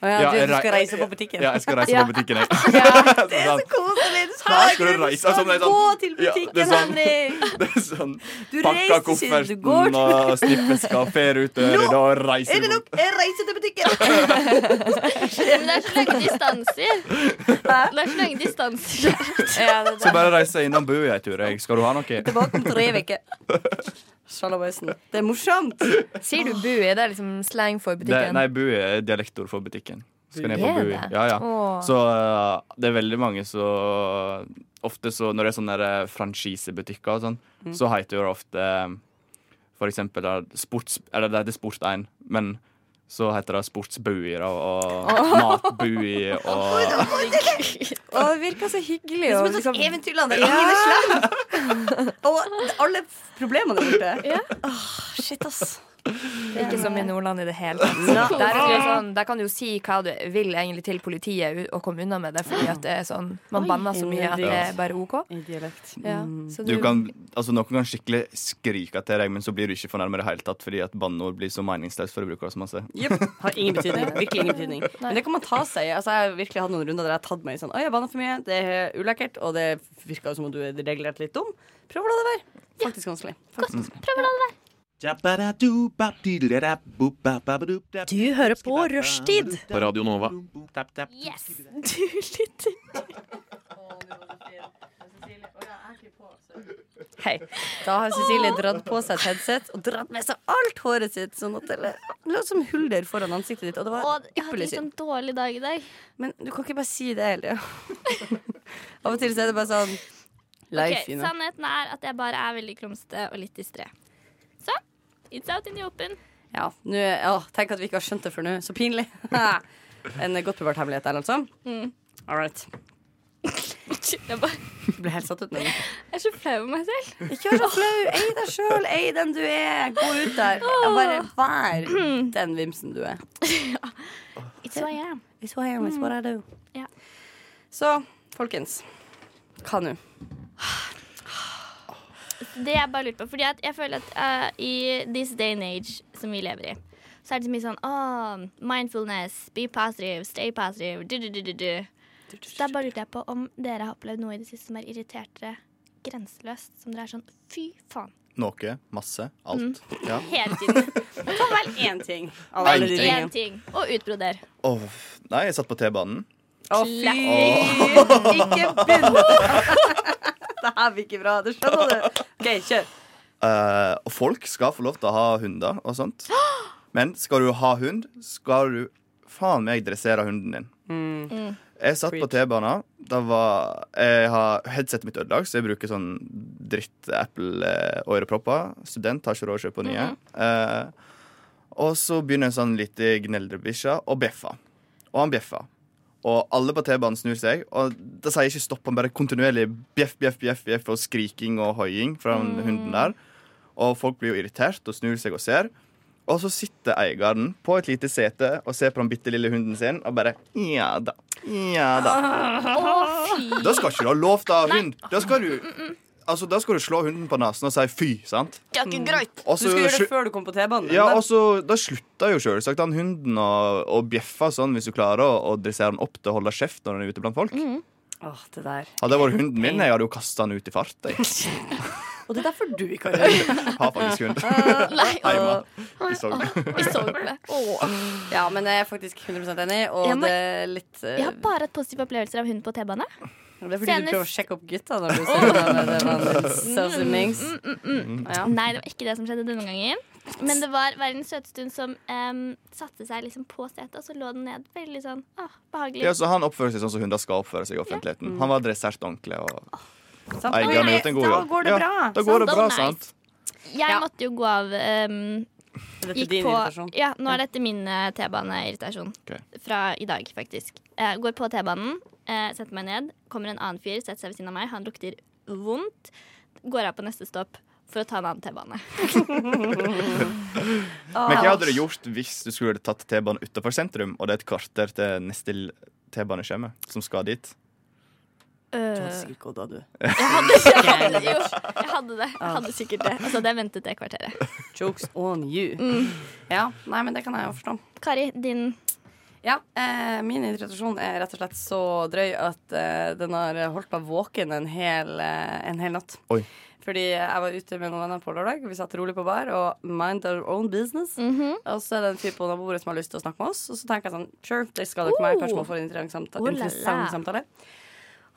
Å ja, du- jeg du skal rei- reise på butikken. Ja, (laughs) jeg skal reise (laughs) Ja. på butikken, jeg. Det er så koselig! Du Da skal, skal du reise. Altså, det er sånn- gå til Ja, butikken, det er sånn- Henrik! Det er sånn Du pakka reiser, du går kofferten til- og snippeska, fer ut døra, (laughs) Nå da reiser Er det du. nok? Jeg reiser til butikken! Men det er så lange distanser. Det er så lange distanser. Så bare reiser jeg innom Bø jeg, tror jeg. Skal du ha noe? Tilbake om tre uker. Sjalabøysen. Det er morsomt. Sier du bue? Det er liksom slang for Det, butikken. nei, Bu er dialektord for butikken. Skal ned på Er Bu. det? Ja, ja. Åh. Så eh, det er veldig mange så Ofte så når det er sånne der eh, franchisebutikker og sånn, Mm. så heter det ofte eh, for eksempel eh, sports, eller det heter Sport 1, men så heter det sportsbuer og, og (laughs) matbuer og Å, det virker så hyggelig. Det er som og et liksom- sånt eventyrland. Ja. Ja. Ingen er slem. Og alle problemene er borte. Åh, shit, ass. Ikke som i Nordland i det hele tatt. Ja. Der, er det sånn, der kan du jo si hva du vil egentlig til politiet u- og komme unna med det, fordi at det er sånn, man banner så mye at det er bare OK. I dialekt. Ja, så Mm. du kan, altså Noen kan skikkelig skrike til deg, men så blir du ikke fornærmet i det hele tatt, fordi at banneord blir så meningsløst for å bruke det så masse. Jepp. Har ingen betydning. Virkelig ingen betydning. Men det kan man ta seg i. Altså, jeg har virkelig hatt noen runder der jeg har tatt meg i sånn Oi, jeg banna for mye. Det er ulekkert. Og det virka som om du er regulert litt dum. Prøv å la det være. Faktisk vanskelig. Faktisk vanskelig. Du hører på Rushtid. På Radio Nova. Yes. Du lytter (laughs) Hei. Da har Cecilie dratt på seg et headset og dratt med seg alt håret sitt. Sånn at det lå som huller foran ansiktet ditt. Og det Og var jeg har ypperlig litt syn. sånn dårlig dag i dag. Men du kan ikke bare si det hele tida. (laughs) Av og til så er det bare sånn Life, Ok, you know. Sannheten er at jeg bare er veldig klumsete og litt distré. Så it's out in the open. (laughs) Ja, nå, ja, tenk at vi ikke har skjønt det før nå. Så pinlig. (laughs) en godt bevart hemmelighet der, altså. Mm. All right. Jeg, bare, Du ble helt satt ut (laughs) med den. jeg er så flau over meg selv. Ikke vær så flau. Ei deg sjøl. Ei den du er. Gå ut der. Ja, bare vær den vimsen du er. It's who I am. It's what I am, it's what I do. Ja. Så, folkens. Hva nå? Det jeg bare lurer på, fordi at jeg føler at eh, i this day and age som vi lever i, så er det så mye sånn «Åh, mindfulness, be positive, stay positive, du, du, du, du, du. Så da bare lurte jeg på om dere har opplevd noe i det siste som har irritert dere grenseløst, som dere er sånn fy faen, Noe, masse, alt. Mm. Ja. hele tiden. (laughs) Det kan være én ting. av Én alle de ting. Én tingene. ting. Og utbroder. Åh, nei, jeg satt på T-banen. Å, fy! Ikke (laughs) begynn! Det her blir ikke bra. Det skjønner du. OK, kjør. Eh, og folk skal få lov til å ha hunder og sånt. Men skal du ha hund, skal du faen meg dressere hunden din. Jeg satt på T-banen. Da var jeg har Headsetet mitt ødelagt, så jeg bruker sånn dritt Apple-ørepropper. Student har ikke råd til å kjøpe nye. Eh, og så begynner en sånn lite gneldrebikkje å bjeffe. Og han bjeffer. Og alle på T-banen snur seg, og det sier ikke stopp. Han bare kontinuerlig bjeff, bjeff, bjeff, bjeff og skriking og hoiing fra den hunden der. Og folk blir jo irritert og snur seg og ser. Og så sitter eieren på et lite sete og ser på den bitte lille hunden sin og bare Ja da. Ja da. Da skal ikke du ha lov til å ha hund. Da skal Mm, du Altså, da skal du slå hunden på nesen og si fy, sant? Det er ikke (laughs) greit. Og Du så skulle gjøre slu- det før du kom på T-banen. ja, da. og så Da slutta jo selvsagt han hunden å, å bjeffe sånn, hvis du klarer å, å dressere den opp til å holde kjeft når den er ute blant folk. Åh, det der. Hadde det vært hunden min, jeg hadde jo kasta den ut i fart. Jeg. Og det er derfor du ikke (laughs) har hund. Har faktisk hund. (laughs) Nei, Heima. åh. I Sogn. I Sogn. Åh. Ja, men jeg er faktisk 100 enig, og Jeg må- det er litt eh, Jeg har bare hatt positive opplevelser av hund på T-bane. Det er fordi Senest- du prøver å sjekke opp gutta når du ser dem. Det var en self-symings. Mm, mm, mm, mm. Ja. Nei, det var ikke det som skjedde denne gangen. Men det var verdens søteste hund som em, satte seg liksom på setet, og så lå den ned. Veldig sånn ah, behagelig. Ja, så han oppfører seg sånn som hunder skal oppføre seg i offentligheten. Han var dressert ordentlig. og... Sant. Eieren har gjort en god Mm. Ah, Da jobb. går det Ja, bra. Da går Sant. det bra, Nice. sant? Jeg måtte jo gå av em, Dette er gikk din på, irritasjon. Ja, nå er dette min eh, T-baneirritasjon. Fra i dag, faktisk. Eh, går på T-banen, eh, setter meg ned. Kommer en annen fyr, setter seg ved siden av meg. Han lukter vondt. Går av på neste stopp for å ta en annen T-bane. Ah. Men hva hadde du gjort hvis du skulle tatt T-banen utenfor sentrum, og det er et kvarter til neste l- T-baneskjemme som skal dit? Psyko, da, du. Jeg hadde, jeg hadde det jo. Jeg hadde det. Jeg hadde sikkert det. Altså, det ventet det kvarteret. Jokes on you. Mm. Ja, nei, men det kan jeg jo forstå. Kari, din Ja, eh, min irritasjon er rett og slett så drøy at eh, den har holdt meg våken en hel, eh, en hel natt. Oi. Fordi jeg var ute med noen venner på lørdag. Vi satt rolig på bar og mind our own business. Mhm. Og så er det en fyr på nabobordet som har lyst til å snakke med oss. Og så tenker jeg sånn, sure, det skader ikke meg. Kanskje man får en interessant samta- Oh la la. interessant samtale.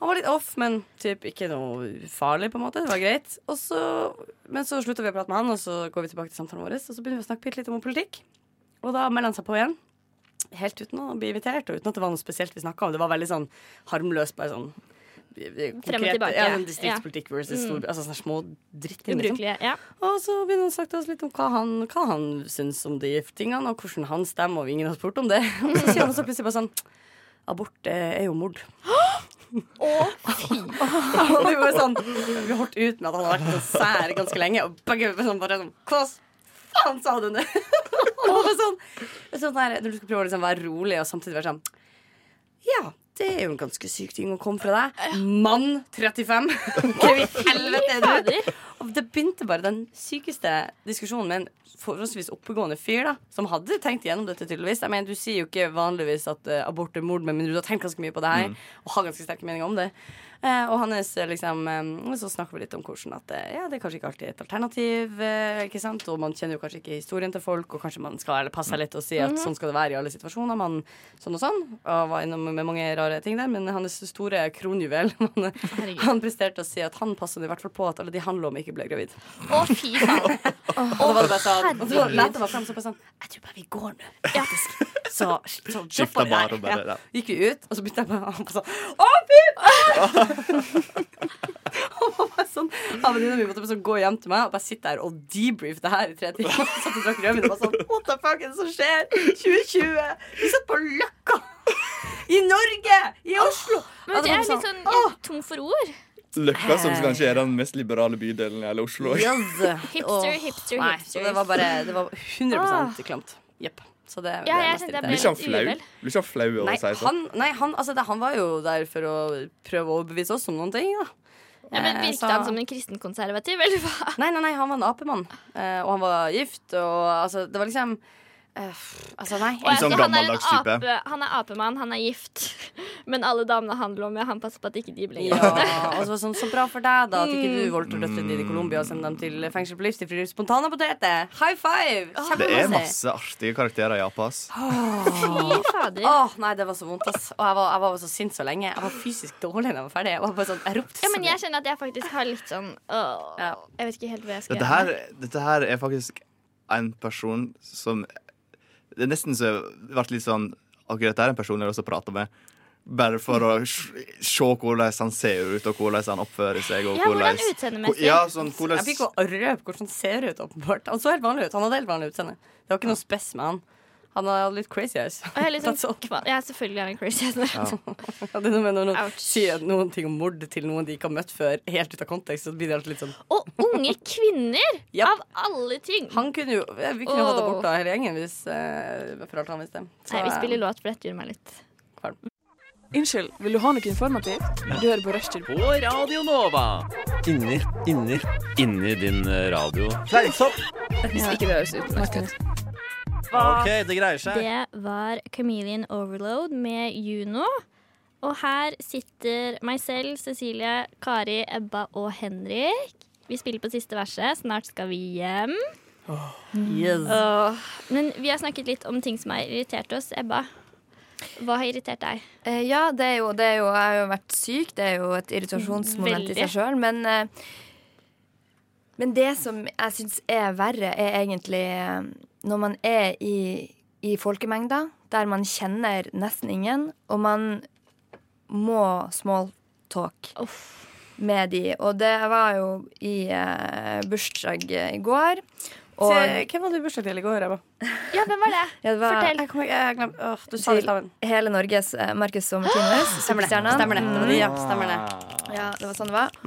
Han var litt off, men typ ikke noe farlig, på en måte. Det var greit. Og så, men så slutter vi å prate med han, og så går vi tilbake til samtalen vår. Og så begynner vi å snakke bitte litt om politikk. Og da melder han seg på igjen. Helt uten å bli invitert, og uten at det var noe spesielt vi snakka om. Det var veldig sånn harmløst, bare sånn Frem og konkret- tilbake. Ja, sånn distriktspolitikk versus Mm. stor, altså sånne små drittting. liksom. ubrukelige. Ja. Og så begynner han å snakke til oss litt om hva han, hva han syns om de tingene, og hvordan han stemmer, og ingen har spurt om det. (laughs) Og så sier han også plutselig bare sånn Abort eh, er jo mord. (laughs) Og det var sånn Vi holdt ut med at han hadde vært så sær ganske lenge, og begge var sånn bare sånn Hva faen sa du nå? (laughs) Og det var sånn, sånn der, når du skal prøve å liksom være rolig og samtidig være sånn Ja, det er jo en ganske syk ting å komme fra deg. Mann (laughs) 35. Hvem i helvete er du? Og det begynte bare den sykeste diskusjonen med en forholdsvis oppegående fyr da som hadde tenkt gjennom dette, tydeligvis. Jeg mener, Du sier jo ikke vanligvis at eh, abort er mord, men du har tenkt ganske mye på det her og har ganske sterke meninger om det. Eh, og hans, eh, liksom, eh, så snakker vi litt om hvordan at eh, ja, det er kanskje ikke alltid et alternativ. Eh, ikke sant? Og man kjenner jo kanskje ikke historien til folk, og kanskje man skal passe seg litt og si at Mhm. sånn skal det være i alle situasjoner. Man, sånn og sånn. Og var innom med mange rare ting der. Men hans store kronjuvel (laughs) han, han presterte å si at han passet i hvert fall på at alle de han lå med, ikke ble gravid. Å, fy faen. (laughs) Og da var det bare sånn, og så herregud. lette meg frem så bare sånn Jeg tror bare vi går nå, faktisk. Så, så Skiftet dropper bare vi det her. og bare, Ja. ja. Gikk vi ut, og så begynte jeg bare Han bare sånn Å, fy faen! Og han bare sånn ja, Venninna mi måtte bare sånn gå hjem til meg og bare sitte her og debrief det her i tre timer. (laughs) Satt og drakk rødvin og bare sånn What the fuck er det som skjer? 2020! Vi satt på Løkka! I Norge! I Oslo! Men det jeg var er sånn- litt sånn jeg er tom for ord. Løkka, Eh. som kanskje er den mest liberale bydelen i hele Oslo. Hipster, hipster, Nei, hipster. så det var bare Det var 100 Ah. klamt. Jepp. Så det, det Ja, er jeg mest kjente jeg irriterende. ble Blir ikke han flau? Blir ikke han flau over Nei, å si han, sånn? nei han, altså, det, han var jo der for å prøve å overbevise oss om noen ting, da. Ja, men Eh, Virket så- han som en kristenkonservativ, eller hva? Nei, nei, nei, han var en apemann. Eh, og han var gift, og altså Det var liksom eh, Altså, nei. Og jeg- sånn så han er en gammeldags type. ape- Han er apemann, han er gift. (laughs) Men alle damene han lå med, han passer på at ikke de blir Ja, og så var det sånn, så bra for deg, da. At ikke du Mm. voldtok døtrene dine i Colombia og sendte dem til fengsel på livstid fordi du spontanaborterte. High five! Det er Kjempemasse. masse artige karakterer i Japas. Åh. fader. Åh, nei, det var så vondt, ass. Og jeg var, jeg var så sint så lenge. Jeg var fysisk dårlig da jeg var ferdig. Jeg var bare sånn, jeg ropte Ja, men jeg kjenner at jeg faktisk har litt sånn åh, Jeg vet ikke helt hva jeg skal Dette her, dette her er faktisk en person som Det er nesten så jeg ble litt sånn OK, dette er en person jeg har lyst til å prate med. Bare for å sj- se hvordan han ser ut, og hvordan han oppfører seg. Og Ja, hvordan hvordan- utseendemessig? Ja, sånn, hvordan, Jeg fikk jo røpe hvordan han ser ut, åpenbart. Han så helt vanlig ut. Han hadde helt vanlig utseende. Det var ikke noe spess med han. Han hadde litt crazy eyes. (laughs) Og jeg er litt That's all. sånn kva- Ja, selvfølgelig er han crazy. jeg er sånn. Ja, det er noe med når noen sier noen ting om mord til noen de ikke har møtt før, helt ut av kontekst, så blir det alltid litt sånn Og unge kvinner! Ja. Av alle ting! Han kunne jo Vi kunne jo hatt Åh. abort av hele gjengen hvis eh, For alt han visste. Så, Nei, vi spiller eh, låt, for dette gjør meg litt Unnskyld, vil du ha noe informativt? Du hører på Rushtid. På Radio Nova. Inni, inni Inni din eh, radio. Fleinsopp! Hvis ikke det høres utenlandsk ut. OK, det greier seg. Det var Chameleon Overload med Juno. Og her sitter meg selv, Cecilie, Kari, Ebba og Henrik. Vi spiller på siste verset. Snart skal vi hjem. Mm. Yes. Åh, men vi har snakket litt om ting som har irritert oss. Ebba, hva har irritert deg? Eh, ja, det er, jo, det er jo Jeg har jo vært syk. Det er jo et irritasjonsmoment i Veldig. seg sjøl. Men, eh, men det som jeg syns er verre, er egentlig eh, når man er i, i folkemengder der man kjenner nesten ingen, og man må smalltalk med de. Og det var jo i eh, bursdag i går. Og Se, hvem hadde du bursdag til i går, Emma? Ja, hvem var det? Ja, det var- Fortell. Jeg, kom, jeg, jeg glem, åh, du sa det i til staven. hele Norges eh, Markus (gasps) Sommertines. Stemmer det. Stemmer det. Det var de, ja. Stemmer det. Ja, det var sånn det var.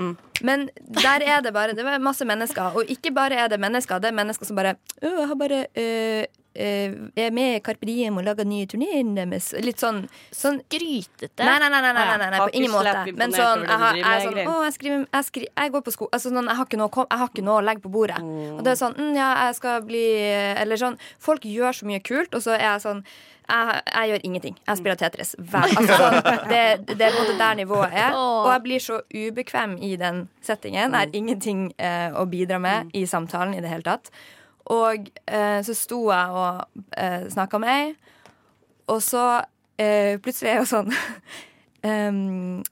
Men der er det bare Det var masse mennesker. Og ikke bare er det mennesker, det er mennesker som bare «Å, jeg har bare øh, øh, er med i Carpe Diem og lager nye turneer deres. Litt sånn, sånn Skrytete? Nei, nei, nei, nei, nei, nei, nei, Ja, på ingen måte. akkurat slett Men imponert over sånn, det jeg, har, du jeg driver er sånn med, Å, jeg skriver Jeg, skriver, jeg går på sko... Altså, sånn, jeg, har ikke noe, å kom- jeg har ikke noe å legge på bordet. Og det er sånn mm, Ja, jeg skal bli Eller sånn Folk gjør så mye kult, og så er jeg sånn jeg, jeg gjør ingenting. Jeg spiller Tetris. Hver, altså, sånn, det, det er på en måte der nivået er. Åh. Og jeg blir så ubekvem i den settingen. Jeg har ingenting eh, å bidra med Mm. i samtalen i det hele tatt. Og eh, så sto jeg og eh, snakka med ei, og så eh, plutselig er jeg jo sånn (laughs) ehm,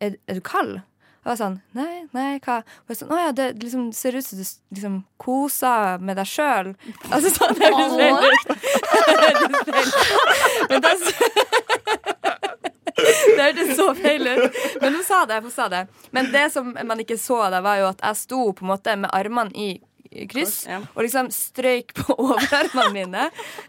er, er du kald? Og jeg var sånn Nei, nei, hva? Og jeg sånn, Å ja, det liksom, ser ut som du s- liksom koser med deg sjøl. Altså sånn det høres feil ut. Det høres feil ut. Men (laughs) det s- Det hørtes så feil ut. Men hun sa det. Hun sa det. Men det som man ikke så da, var jo at jeg sto på en måte med armene i kryss og liksom strøyk på (laughs) overarmene mine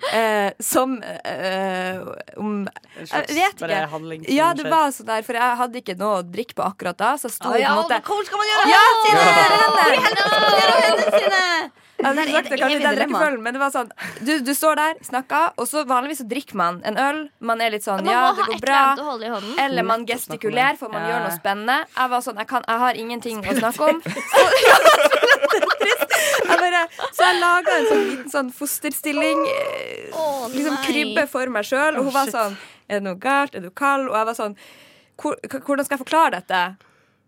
eh, som eh, om slags Jeg vet bare ikke. handling som Ja, det skjer. var sånn der, for jeg hadde ikke noe å drikke på akkurat da, så jeg sto Å, ja, og på en måte men hvor skal man gjøre det? Ja, si det! Ja. Gjør det! Jeg Det hadde er ikke sagt det evig- kanskje i den evig dilemma. rekkefølgen, men det var sånn Du, du står der, snakker, og så vanligvis så drikker man en øl. Man er litt sånn Man må Ja, ha det et går eller bra. annet å holde i hånden. Eller man Nettopp snakke om gestikulerer, det. for man Ja. gjør noe spennende. Jeg var sånn Jeg, kan, jeg har ingenting å (laughs) snakke om. Så, (laughs) ja, jeg bare, så jeg laga en sånn liten sånn fosterstilling. eh, liksom nei. krybbe for meg sjøl. Og hun var sånn Er det noe galt? Er du kald? Og jeg var sånn «Hvor- Hvordan skal jeg forklare dette?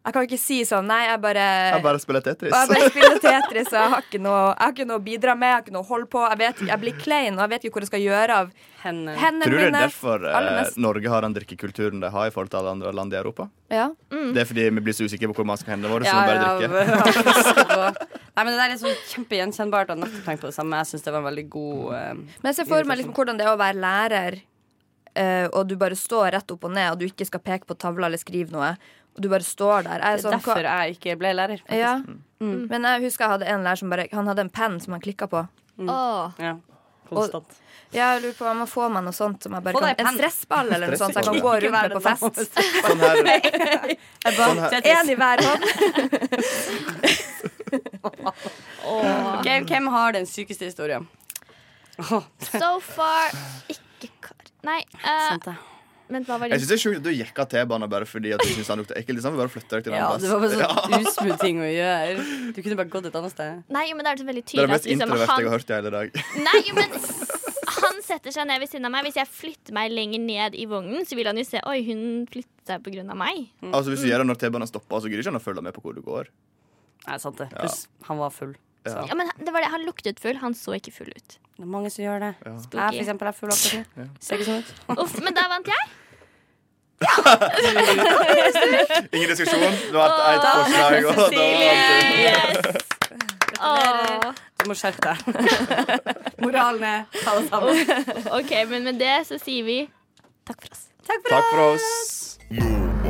Jeg kan jo ikke si sånn Nei, jeg bare Jeg bare spiller og jeg bare Tetris. spiller Tetris, og jeg har ikke noe, jeg har ikke noe å bidra med. Jeg har ikke noe å holde på. Jeg, vet, ikke- jeg blir klein, og jeg vet ikke hvor jeg skal gjøre av hendene, Tror du det er mine. derfor eh, Aller mest. Norge har den drikkekulturen de har i forhold til alle andre land i Europa? Ja. Det er fordi vi blir så usikre på hvor man skal hende våre, så Mm. vi Ja, bare (laughs) ja, drikker. Nei, men Det der er sånn kjempegjenkjennbart. Jeg har nettopp tenkt på det samme. Jeg syns det var en veldig god eh, Men jeg ser for meg liksom hvordan det er å være lærer, eh, og du bare står rett opp og ned, og du ikke skal peke på tavla eller skrive noe. Og du bare står der. Jeg Det er er sånn, hva- derfor jeg ikke ble lærer. faktisk. ja. Mm. Mm. Men jeg husker jeg hadde en lærer som bare Han hadde en penn som han klikka på. Åh. Ja. Konstant. Ja, jeg lurer på hva får man noe sånt som jeg bare Få kan, deg En penn. stressball eller noe sånt, så jeg kan Stressball. gå rundt Ikke være med på fest. (laughs) Sånn her, Sånn Jeg bare, her- En i hver hånd. Ok, hvem har den sykeste historien? Åh. So far ikke kar... Nei. eh, men hva var jeg det? syns det er sjukt at du gikk av T-banen bare fordi at du syns han lukta ekkel. Liksom. Bare flytter deg til en Ja, annen det var (laughs) bare Ja. sånn usmooth ting å gjøre. Du kunne bare gått et annet sted. Nei, jo, men det er så veldig Det er tydelig det mest at liksom introverte jeg han- har hørt i hele dag. Nei, jo, men han setter seg ned ved siden av meg. Hvis jeg flytter meg lenger ned i vognen, så vil han jo se Oi, hun flyttet seg pga. meg. Altså Mm. Hvis du gjør det når T-banen stopper, så gidder ikke han å følge med på hvor du går. Nei, sant det. Pluss, han var full. Ja. Ja, men det var det. Han luktet full. Han så ikke full ut. Det er mange som gjør det. Spooky. Jeg for eksempel er full av kaffe. Ser ikke sånn ut. Uff, men der vant jeg. Ingen diskusjon. Det var et, et Åh, forslag. Og, da, Åh. Du må skjerpe deg. (laughs) Moralen er ta det sammen. OK, men med det så sier vi takk for oss. takk for oss.